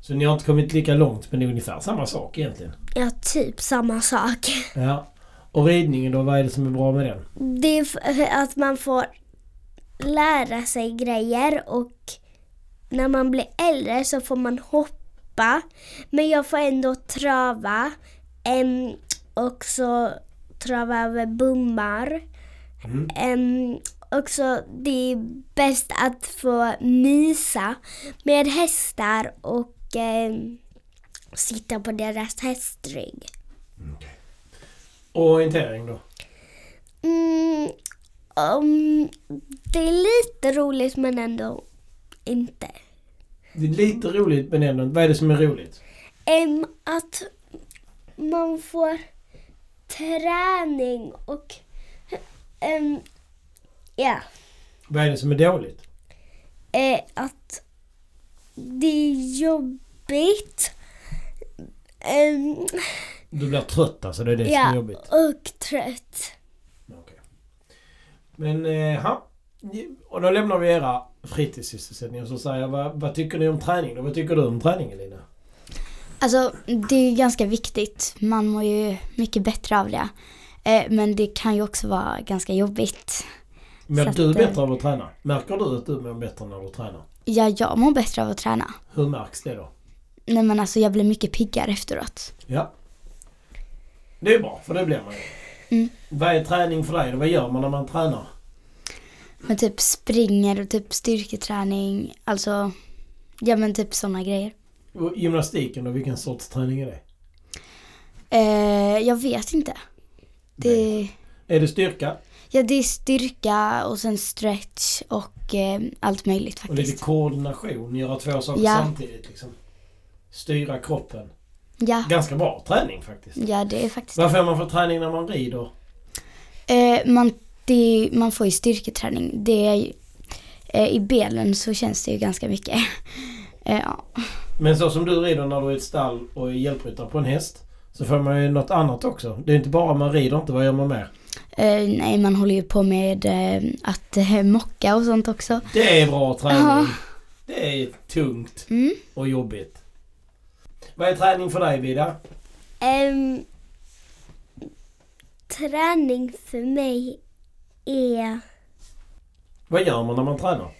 Speaker 1: Så ni har inte kommit lika långt men det är ungefär samma sak egentligen.
Speaker 4: Ja, typ samma sak.
Speaker 1: Ja. Och ridningen då, vad är det som är bra med den?
Speaker 4: Det är f- att man får lära sig grejer och när man blir äldre så får man hoppa. Men jag får ändå trava em, och så trava över bommar.
Speaker 1: Mm.
Speaker 4: Em, och så det är bäst att få mysa med hästar och em, sitta på deras hästrygg.
Speaker 1: Och orientering då?
Speaker 4: Mm, um, det är lite roligt men ändå inte.
Speaker 1: Det är lite roligt men ändå Vad är det som är roligt?
Speaker 4: Em, att man får träning och... em, ja.
Speaker 1: Vad är det som är dåligt?
Speaker 4: Eh, att det är jobbigt. Em,
Speaker 1: Du blir trött alltså, det är det som är
Speaker 4: ja,
Speaker 1: jobbigt.
Speaker 4: och trött.
Speaker 1: Okej. Men, eh, ha. Och då lämnar vi era fritidssysselsättningar så säger jag, vad, vad tycker ni om träning då? Vad tycker du om träningen Lina?
Speaker 5: Alltså det är ju ganska viktigt. Man mår ju mycket bättre av det. Eh, Men det kan ju också vara ganska jobbigt.
Speaker 1: Mår
Speaker 5: Så att,
Speaker 1: du
Speaker 5: eh,
Speaker 1: bättre av att träna? Märker du att du mår bättre när du tränar?
Speaker 5: Ja, jag mår bättre av att träna.
Speaker 1: Hur märks det då?
Speaker 5: Nej men alltså jag blir mycket piggare efteråt.
Speaker 1: Ja. Det är bra, för det blir man ju. Vad är träning för dig då? Vad gör man när man tränar?
Speaker 5: Men typ springer och typ styrketräning. Alltså, ja men typ sådana grejer.
Speaker 1: Och gymnastiken då, vilken sorts träning är det?
Speaker 5: Eh, jag vet inte. Det,
Speaker 1: Är det styrka?
Speaker 5: ja, det är styrka och sen stretch och eh, allt möjligt
Speaker 1: Och lite
Speaker 5: faktiskt.
Speaker 1: koordination, göra två saker
Speaker 5: Ja.
Speaker 1: samtidigt liksom. Styra kroppen.
Speaker 5: Ja,
Speaker 1: Ganska bra träning faktiskt.
Speaker 5: ja det är faktiskt
Speaker 1: Vad får man för träning när man rider?
Speaker 5: Eh, man, det är, ju- man får ju styrketräning. Det är ju, eh, I benen så känns det ju ganska mycket. <laughs> Eh, ja.
Speaker 1: Men så som du rider när du är i ett stall och är hjälpryttare på en häst så får man ju något annat också. Det är inte bara man rider inte, vad gör man mer?
Speaker 5: eh, nej, man håller ju på med eh, att eh, mocka och sånt också.
Speaker 1: Det är bra träning!
Speaker 5: Ja.
Speaker 1: Det är tungt
Speaker 5: Mm.
Speaker 1: och jobbigt. Vad är träning för dig Vida?
Speaker 4: Ehm, träning för mig är...
Speaker 1: Vad gör man när man tränar?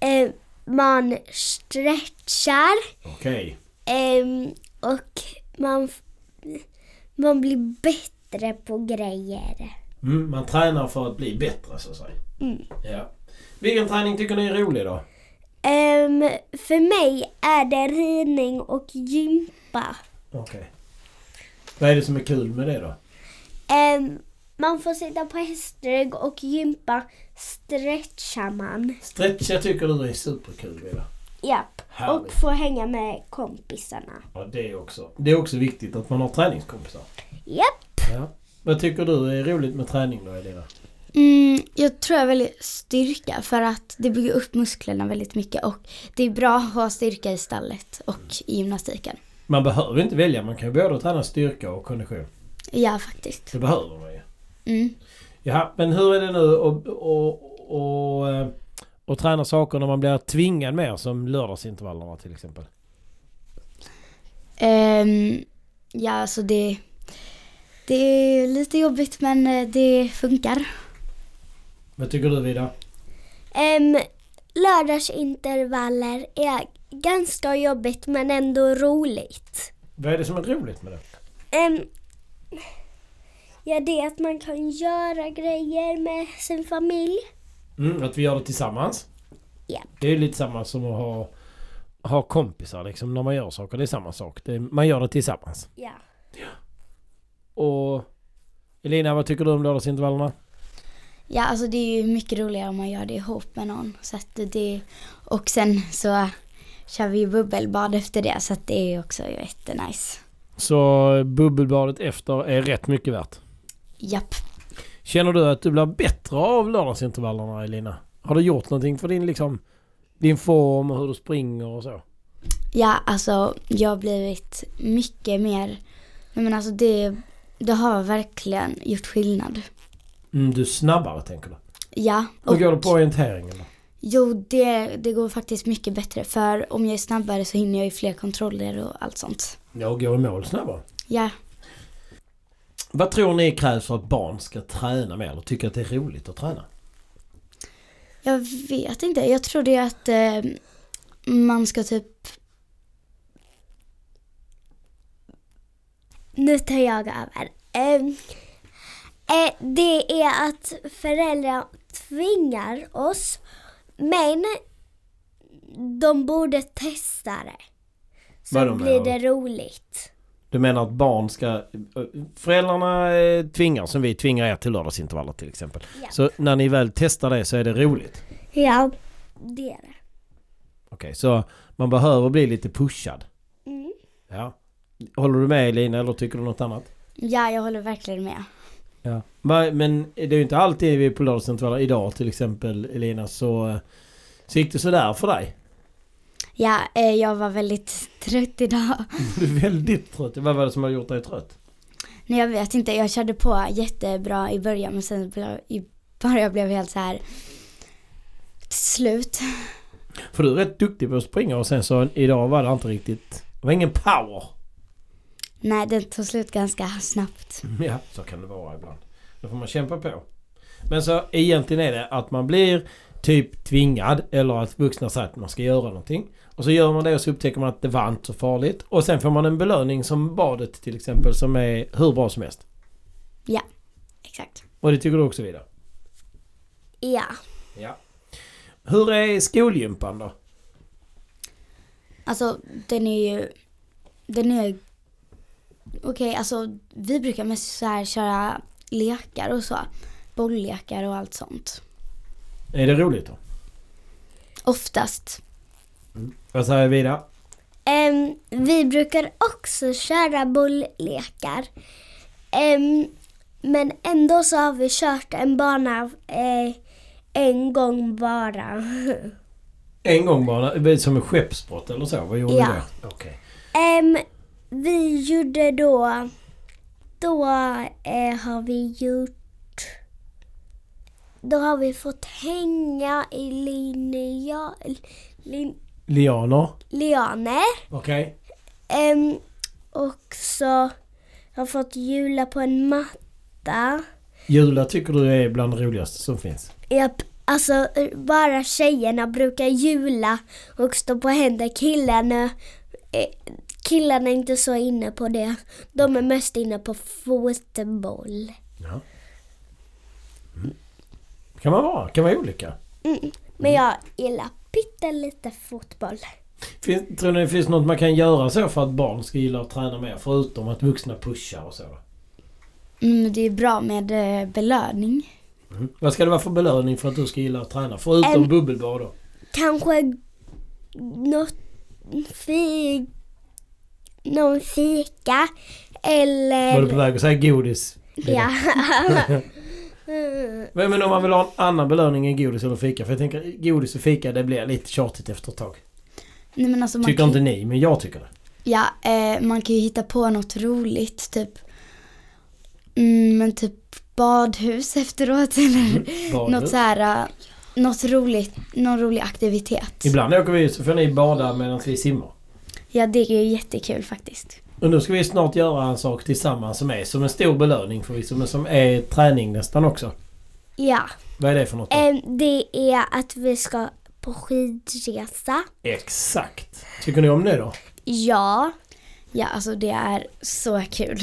Speaker 4: ehm, man stretchar
Speaker 1: Okej.
Speaker 4: ehm, och man, f- man blir bättre på grejer.
Speaker 1: Mm, man tränar för att bli bättre så att säga.
Speaker 4: Mm.
Speaker 1: Ja. Vilken träning tycker ni är rolig då?
Speaker 4: Ehm, för mig är det ridning och gympa.
Speaker 1: Okej. Vad är det som är kul med det då?
Speaker 4: Ehm, man får sitta på hästrygg och gympa stretchar man.
Speaker 1: Stretcha tycker du är superkul Vida.
Speaker 4: Japp.
Speaker 1: Härligt.
Speaker 4: Och får hänga med kompisarna.
Speaker 1: Ja, det är också. Det är också viktigt att man har träningskompisar.
Speaker 4: Japp.
Speaker 1: Ja. Vad tycker du är roligt med träning då Elina?
Speaker 5: Mm, jag tror jag väljer styrka för att det bygger upp musklerna väldigt mycket och det är bra att ha styrka i stallet och i gymnastiken.
Speaker 1: Man behöver inte välja. Man kan ju både träna styrka och kondition.
Speaker 5: Ja, faktiskt.
Speaker 1: Det behöver man ju.
Speaker 5: Mm.
Speaker 1: Ja, men hur är det nu att och, och, eh, och träna saker när man blir tvingad mer som lördagsintervallerna till exempel?
Speaker 5: Ehm, ja, alltså det, det är lite jobbigt men eh, det funkar.
Speaker 1: Vad tycker du Vida?
Speaker 4: Ehm, lördagsintervaller är ganska jobbigt men ändå roligt.
Speaker 1: Vad är det som är roligt med det?
Speaker 4: Ehm, ja, det är att man kan göra grejer med sin familj.
Speaker 1: Mm, att vi gör det tillsammans.
Speaker 4: Ja.
Speaker 1: Det är ju lite samma som att ha, ha kompisar liksom när man gör saker. Det är samma sak. Det, är- man gör det tillsammans.
Speaker 4: Ja.
Speaker 1: Och Elina, vad tycker du om lördagsintervallerna?
Speaker 5: Ja, alltså det är ju mycket roligare om man gör det ihop med någon. Så att det, och sen så kör vi ju bubbelbad efter det så att det är ju också jättenice.
Speaker 1: Så eh, bubbelbadet efter är rätt mycket värt.
Speaker 5: Japp.
Speaker 1: Känner du att du blir bättre av lördagsintervallerna Elina? Har du gjort någonting för din, liksom, din form och hur du springer och så?
Speaker 5: Ja, alltså jag har blivit mycket mer, nej men alltså det, det har verkligen gjort skillnad.
Speaker 1: Mm, du är snabbare tänker du.
Speaker 5: Ja,
Speaker 1: Hur går det på orienteringen? då?
Speaker 5: jo det, det går faktiskt mycket bättre för om jag är snabbare så hinner jag ju fler kontroller och allt sånt.
Speaker 1: Jag går i mål snabbare.
Speaker 5: Ja,
Speaker 1: Vad tror ni krävs för att barn ska träna mer och tycka att det är roligt att träna?
Speaker 5: jag vet inte, jag tror det är att eh, man ska typ
Speaker 4: Nu tar jag över. Ehm, eh, det är att föräldrar tvingar oss, men de borde testa det.
Speaker 1: Vad
Speaker 4: Så
Speaker 1: de
Speaker 4: blir
Speaker 1: menar.
Speaker 4: det roligt.
Speaker 1: Du menar att barn ska... eh, Föräldrarna eh, tvingar, som vi tvingar er till lördagsintervaller till exempel.
Speaker 4: Ja.
Speaker 1: Så när ni väl testar det så är det roligt.
Speaker 4: Ja, det är det.
Speaker 1: Okej, så man behöver bli lite pushad.
Speaker 4: Mm.
Speaker 1: Ja. Håller du med Elina eller tycker du något annat?
Speaker 5: Ja, jag håller verkligen med.
Speaker 1: Ja. Va- Men det är ju inte alltid vi är på lördagsintervaller. Idag till exempel Elina så... eh, Så gick det sådär för dig.
Speaker 5: Ja, eh, jag var väldigt trött idag. <laughs>
Speaker 1: Du är väldigt trött. Vad var det som har gjort dig trött?
Speaker 5: Nej, jag vet inte. Jag körde på jättebra i början men sen ble- i början blev jag helt så här till slut.
Speaker 1: För du är rätt duktig på att springa och sen så idag var det inte riktigt... Det var ingen power.
Speaker 5: Nej, den tog slut ganska snabbt.
Speaker 1: Ja, så kan det vara ibland. Då får man kämpa på. Men så egentligen är det att man blir typ tvingad eller att vuxna säger att man ska göra någonting. Och så gör man det och så upptäcker man att det var inte så farligt. Och sen får man en belöning som badet till exempel som är hur bra som helst.
Speaker 5: Exakt.
Speaker 1: Och det tycker du också vidare?
Speaker 4: Ja.
Speaker 1: Ja. Hur är skolgympan då?
Speaker 5: Alltså, den är ju... Den är... Okej, alltså vi brukar mest så här köra lekar och så. Bolllekar och allt sånt.
Speaker 1: Är det roligt då?
Speaker 5: Oftast.
Speaker 1: Vad säger Vida?
Speaker 4: Ehm, vi brukar också köra bolllekar. Ehm, men ändå så har vi kört en bana eh, en gång bara.
Speaker 1: En gång bara, som en skeppsbrott eller så? Vad gjorde
Speaker 4: Ja.
Speaker 1: ni då? Okej.
Speaker 4: Ehm, vi gjorde då... Då eh, har vi gjort... Då har vi fått hänga i linja... Lin,
Speaker 1: Lianer.
Speaker 4: lianer.
Speaker 1: Okej.
Speaker 4: Ehm, också, jag har fått jula på en matta.
Speaker 1: Jula tycker du är bland det roligaste som finns?
Speaker 4: Japp, alltså bara tjejerna brukar jula och stå på händer. Killarna, eh, killarna är inte så inne på det. De är mest inne på fotboll.
Speaker 1: Ja. Mm. Kan man vara. Kan vara olika.
Speaker 4: Men jag gillar pyttelite fotboll.
Speaker 1: Fin, tror ni det finns något man kan göra så för att barn ska gilla att träna mer? Förutom att vuxna pushar och så?
Speaker 5: Mm, det är bra med eh, belöning.
Speaker 1: Vad ska det vara för belöning för att du ska gilla att träna? Förutom
Speaker 4: En-
Speaker 1: bubbelbad då?
Speaker 4: Kanske något fi, någon fika eller...
Speaker 1: Var du på väg att säga godis?
Speaker 4: Ja.
Speaker 1: <laughs> Men men om man vill ha en annan belöning än godis eller fika? För jag tänker godis och fika det blir lite tjatigt efter ett tag.
Speaker 5: Nej, men alltså, man
Speaker 1: Tycker
Speaker 5: kan-
Speaker 1: inte ni, men jag tycker det.
Speaker 5: Ja, eh, man kan ju hitta på något roligt, typ. Mm, men typ badhus <laughs> efteråt eller
Speaker 1: Badhus.
Speaker 5: något så här, eh, något roligt, någon rolig aktivitet.
Speaker 1: Ibland åker vi ut så får ni bada medan vi simmar.
Speaker 5: Ja, det är ju jättekul faktiskt.
Speaker 1: Och nu ska vi snart göra en sak tillsammans som är som en stor belöning förvisso men som är träning nästan också.
Speaker 4: ja.
Speaker 1: Vad är det för något? då?
Speaker 4: Ehm, det är att vi ska på skidresa.
Speaker 1: Exakt! Tycker ni om det då?
Speaker 4: Ja.
Speaker 5: Ja, alltså det är så kul.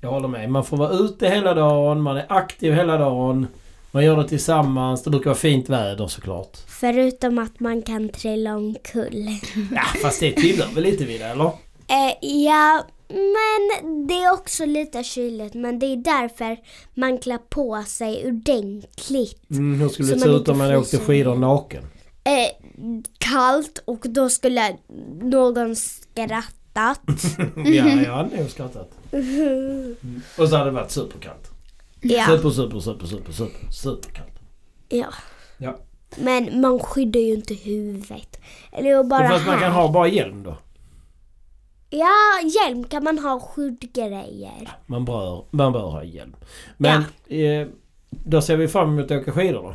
Speaker 1: Jag håller med. Man får vara ute hela dagen, man är aktiv hela dagen. Man gör det tillsammans. Det brukar vara fint väder såklart.
Speaker 4: Förutom att man kan trilla omkull.
Speaker 1: Ja, fast det tillhör väl lite vid det, eller?
Speaker 4: Eh, ja, men det är också lite kyligt. Men det är därför man klär på sig ordentligt.
Speaker 1: Mm, hur skulle
Speaker 4: Så
Speaker 1: det
Speaker 4: man
Speaker 1: se ut
Speaker 4: inte
Speaker 1: om man åkte
Speaker 4: fryser
Speaker 1: skidor naken?
Speaker 4: Eh, kallt och då skulle någon skrattat.
Speaker 1: ja, jag hade nog skrattat. Mm. Och så hade det varit superkallt.
Speaker 4: ja.
Speaker 1: Super, super, super, super, super, superkallt.
Speaker 4: <laughs> ja.
Speaker 1: Ja.
Speaker 4: Men man skyddar ju inte huvudet. Eller bara
Speaker 1: Fast man
Speaker 4: här.
Speaker 1: kan ha bara hjälm då.
Speaker 4: Ja, hjälm kan man ha skyddgrejer.
Speaker 1: Man bör, man bör ha hjälm. Men eh, då ser vi fram emot att åka skidor då.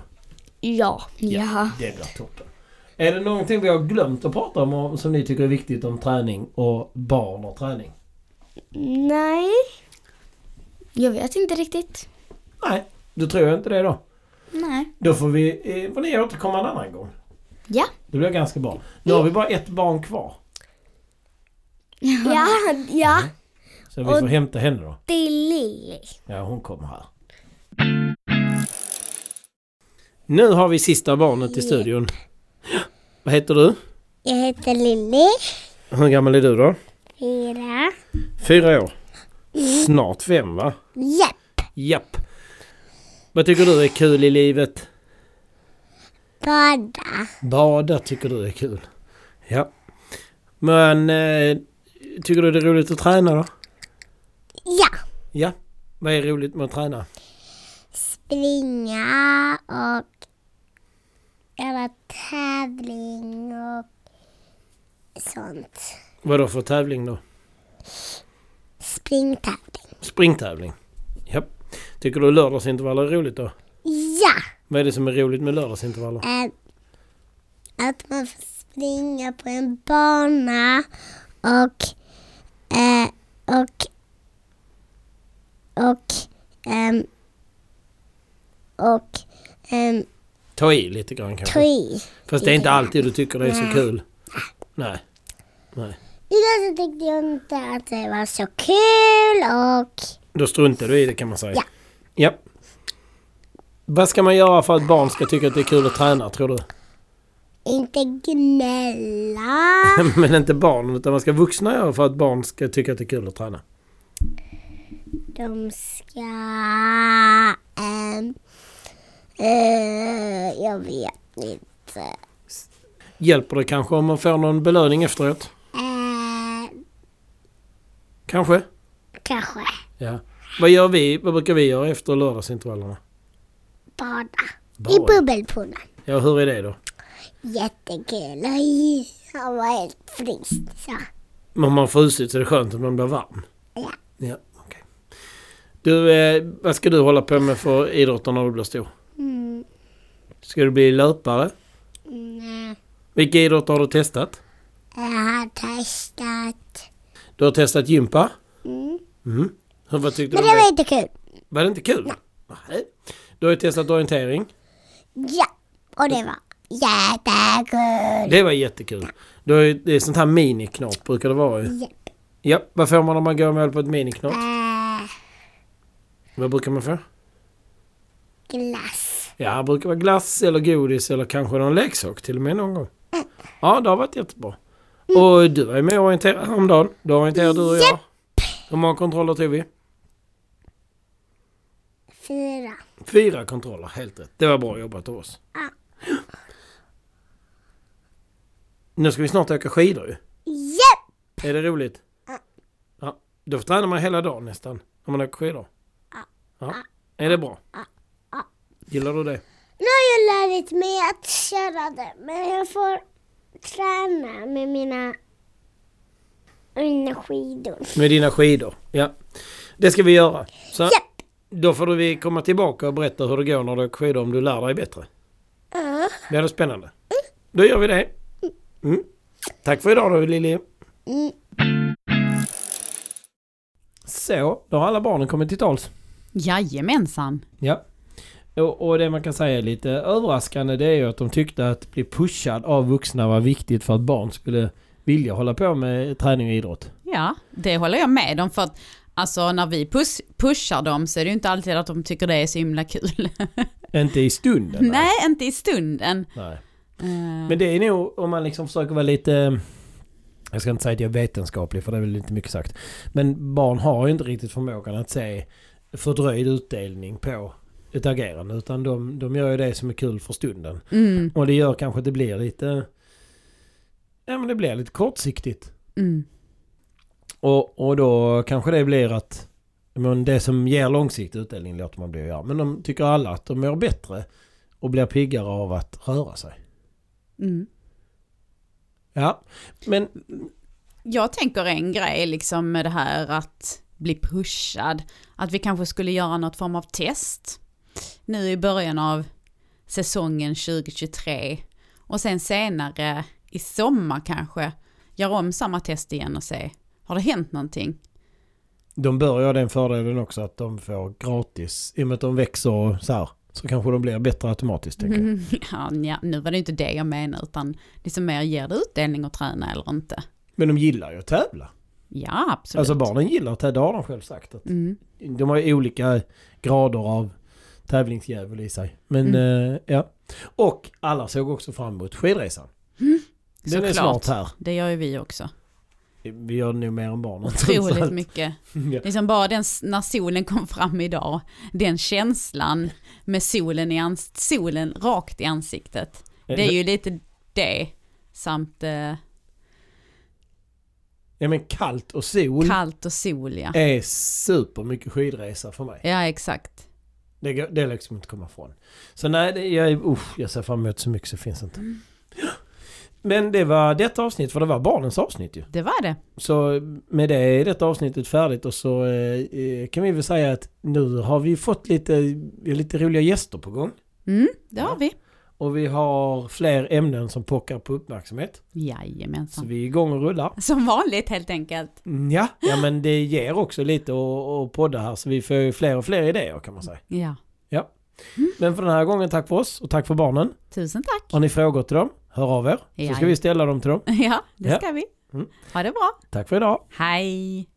Speaker 4: Ja.
Speaker 5: Ja.
Speaker 1: Det blir toppen. Är det någonting vi har glömt att prata om och som ni tycker är viktigt om träning och barn och träning?
Speaker 4: Nej.
Speaker 5: Jag vet inte riktigt.
Speaker 1: Nej, då tror jag inte det då.
Speaker 5: Nej.
Speaker 1: Då får vi, eh, får ni återkomma en annan gång.
Speaker 5: Ja.
Speaker 1: Det blir ganska bra. Nu har vi bara ett barn kvar.
Speaker 4: Ja, ja.
Speaker 1: Så vi får
Speaker 4: Och-
Speaker 1: hämta henne då.
Speaker 4: Det är Lilly.
Speaker 1: Ja, hon kommer här. Nu har vi sista barnet i studion. Vad heter du?
Speaker 4: Jag heter Lilly.
Speaker 1: Hur gammal är du då?
Speaker 4: Fyra.
Speaker 1: Fyra år.
Speaker 4: Mm.
Speaker 1: Snart fem va?
Speaker 4: Japp.
Speaker 1: Japp. Vad tycker du är kul i livet?
Speaker 4: Bada.
Speaker 1: Bada tycker du är kul. Ja. Men eh, tycker du det är roligt att träna då?
Speaker 4: Ja.
Speaker 1: Ja. Vad är roligt med att träna?
Speaker 4: Springa och göra tävling och sånt.
Speaker 1: Vad då för tävling då?
Speaker 4: Springtävling.
Speaker 1: Springtävling. Ja. Tycker du lördagsintervaller är roligt då?
Speaker 4: Ja.
Speaker 1: Vad är det som är roligt med lördagsintervaller?
Speaker 4: Eh, att man får springa på en bana och eh, och och ehm, och ehm,
Speaker 1: Ta i lite grann
Speaker 4: ta
Speaker 1: kanske.
Speaker 4: i.
Speaker 1: Fast det är inte alltid du tycker det är så
Speaker 4: Nej.
Speaker 1: kul. Nej. Nej.
Speaker 4: Idag så tyckte jag inte att det var så kul och
Speaker 1: Då struntar du i det kan man säga.
Speaker 4: Ja.
Speaker 1: ja. Vad ska man göra för att barn ska tycka att det är kul att träna tror du? <laughs>
Speaker 4: inte gnälla.
Speaker 1: Men inte barn utan vad ska vuxna göra för att barn ska tycka att det är kul att träna?
Speaker 4: De ska... ehm, eh, jag vet inte.
Speaker 1: Hjälper det kanske om man får någon belöning efteråt?
Speaker 4: Eh,
Speaker 1: Kanske?
Speaker 4: kanske
Speaker 1: Ja. Vad gör vi? Vad brukar vi göra efter lördagsintervallerna?
Speaker 4: bada. I
Speaker 1: Bad.
Speaker 4: bubbelpoolen.
Speaker 1: Ja, hur är det då?
Speaker 4: Jättekul. Oj, Han var helt frisk. Så.
Speaker 1: Men om man har frusit så är det skönt om man blir varm.
Speaker 4: Ja.
Speaker 1: Ja, okej. Du, eh, vad ska du hålla på med för idrotter när du blir stor?
Speaker 4: Mm,
Speaker 1: Ska du bli löpare?
Speaker 4: nej.
Speaker 1: Vilka idrotter har du testat?
Speaker 6: Jag har testat.
Speaker 1: Du har testat gympa? Mm. Hur, vad tyckte
Speaker 6: Men
Speaker 1: du
Speaker 6: det
Speaker 1: om
Speaker 6: var
Speaker 1: det?
Speaker 6: inte kul.
Speaker 1: Var det inte kul? Nej. Du har ju testat orientering.
Speaker 6: Ja, och det var jättekul.
Speaker 1: Det var jättekul. Du har ju, det är sånt här miniknop brukar det vara ju.
Speaker 6: Japp.
Speaker 1: Ja, vad får man om man går i mål på ett miniknop?
Speaker 6: Äh,
Speaker 1: Vad brukar man få?
Speaker 6: glass.
Speaker 1: Ja, det brukar vara glass eller godis eller kanske någon leksak till och med någon gång.
Speaker 6: Äh.
Speaker 1: Ja, det har varit jättebra.
Speaker 6: Mm.
Speaker 1: Och du var ju med och orienterade häromdagen. Då orienterade du och jag. Hur många kontroller tog vi?
Speaker 6: Fyra.
Speaker 1: Fyra kontroller, helt rätt. Det var bra jobbat av oss.
Speaker 6: Ja.
Speaker 1: Nu ska vi snart åka skidor ju.
Speaker 6: Japp.
Speaker 1: Är det roligt?
Speaker 6: Ja.
Speaker 1: Ja. Då tränar man hela dagen nästan. Om man åker skidor.
Speaker 6: Ja.
Speaker 1: Ja. Är det bra?
Speaker 6: Ja.
Speaker 1: Gillar du det?
Speaker 6: Nu har jag lärt mig att köra det, men jag får träna med mina, mina skidor.
Speaker 1: Med dina skidor? Ja. Det ska vi göra. Så
Speaker 6: Japp.
Speaker 1: Då får du vi komma tillbaka och berätta hur det går när du åker skidor om du lär dig bättre.
Speaker 6: Ja.
Speaker 1: Blir det spännande? Då gör vi det. Mm. Tack för idag då Lili.
Speaker 6: Mm.
Speaker 1: Så, då har alla barnen kommit till tals.
Speaker 2: Jajamensan.
Speaker 1: Ja. Och, och det man kan säga är lite överraskande det är ju att de tyckte att bli pushad av vuxna var viktigt för att barn skulle vilja hålla på med träning och idrott.
Speaker 2: Ja, det håller jag med om för att alltså när vi pus- pushar dem så är det ju inte alltid att de tycker det är så himla kul. <laughs>
Speaker 1: Inte i stunden.
Speaker 2: Nej, inte i stunden.
Speaker 1: Nej.
Speaker 2: Eh,
Speaker 1: Men det är nog om man liksom försöker vara lite... Jag ska inte säga att jag är vetenskaplig för det är väl inte mycket sagt. Men barn har ju inte riktigt förmågan att se fördröjd utdelning på ett agerande. Utan de, de gör ju det som är kul för stunden.
Speaker 2: mm,
Speaker 1: Och det gör kanske att det blir lite... Ja men det blir lite kortsiktigt.
Speaker 2: mm,
Speaker 1: Och, och då kanske det blir att men det som ger långsiktig utdelning låter man bli att göra. Men de tycker alla att de mår bättre och blir piggare av att röra sig.
Speaker 2: mm.
Speaker 1: Ja, men
Speaker 2: Jag tänker en grej liksom med det här att bli pushad. Att vi kanske skulle göra något form av test nu i början av säsongen 2023. Och sen senare i sommar kanske göra om samma test igen och se har det hänt någonting?
Speaker 1: De bör ju ha den fördelen också att de får gratis. I och med att de växer och så här. Så kanske de blir bättre automatiskt tänker jag.
Speaker 2: <laughs> ja, nja, nu var det inte det jag menade utan liksom mer ger det utdelning att träna eller inte.
Speaker 1: Men de gillar ju att tävla.
Speaker 2: Ja, absolut.
Speaker 1: Alltså barnen gillar att tävla, det har de själv sagt. Att
Speaker 2: Mm.
Speaker 1: de har ju olika grader av tävlingsdjävul i sig. Men
Speaker 2: Mm.
Speaker 1: eh, ja. Och alla såg också fram emot skidresan. Den är
Speaker 2: Såklart.
Speaker 1: snart här.
Speaker 2: Det gör ju vi
Speaker 1: <laughs>
Speaker 2: också.
Speaker 1: Vi gör det nog mer än barnen. trots
Speaker 2: Otroligt
Speaker 1: allt.
Speaker 2: mycket.
Speaker 1: <laughs> Ja.
Speaker 2: Liksom bara den, när solen kom fram idag, den känslan med solen, i ans- solen rakt i ansiktet.
Speaker 1: Eh,
Speaker 2: Det är ju lite det, samt eh,
Speaker 1: ja men kallt och sol
Speaker 2: kallt och sol ja.
Speaker 1: är supermycket skidresa för mig.
Speaker 2: Ja exakt.
Speaker 1: Det, går- det är liksom inte komma ifrån. Så nej, det, jag, är- usch, jag ser fram emot så mycket så finns det inte.
Speaker 2: Mm.
Speaker 1: Ja. Men det var detta avsnitt, för det var barnens avsnitt ju.
Speaker 2: Det var det.
Speaker 1: Så med det är detta avsnittet färdigt och så eh, eh, kan vi väl säga att nu har vi fått lite, lite roliga gäster på gång.
Speaker 2: Mm, det
Speaker 1: Ja.
Speaker 2: har vi.
Speaker 1: Och vi har fler ämnen som pockar på uppmärksamhet. Så
Speaker 2: Jajamensan.
Speaker 1: vi är igång och rullar.
Speaker 2: Som vanligt helt enkelt.
Speaker 1: Mm, Ja, ja men det ger också lite att att podda här så vi får ju fler och fler idéer kan man säga.
Speaker 2: Ja.
Speaker 1: Men för den här gången tack för oss och tack för barnen.
Speaker 2: Tusen tack. <laughs>
Speaker 1: Har ni frågor till dem, hör av er. Så ska
Speaker 2: Jajamän.
Speaker 1: vi ställa dem till dem.
Speaker 2: Ja,
Speaker 1: Ja.
Speaker 2: det ska vi.
Speaker 1: Mm.
Speaker 2: Ha det bra.
Speaker 1: Tack för idag.
Speaker 2: Hej.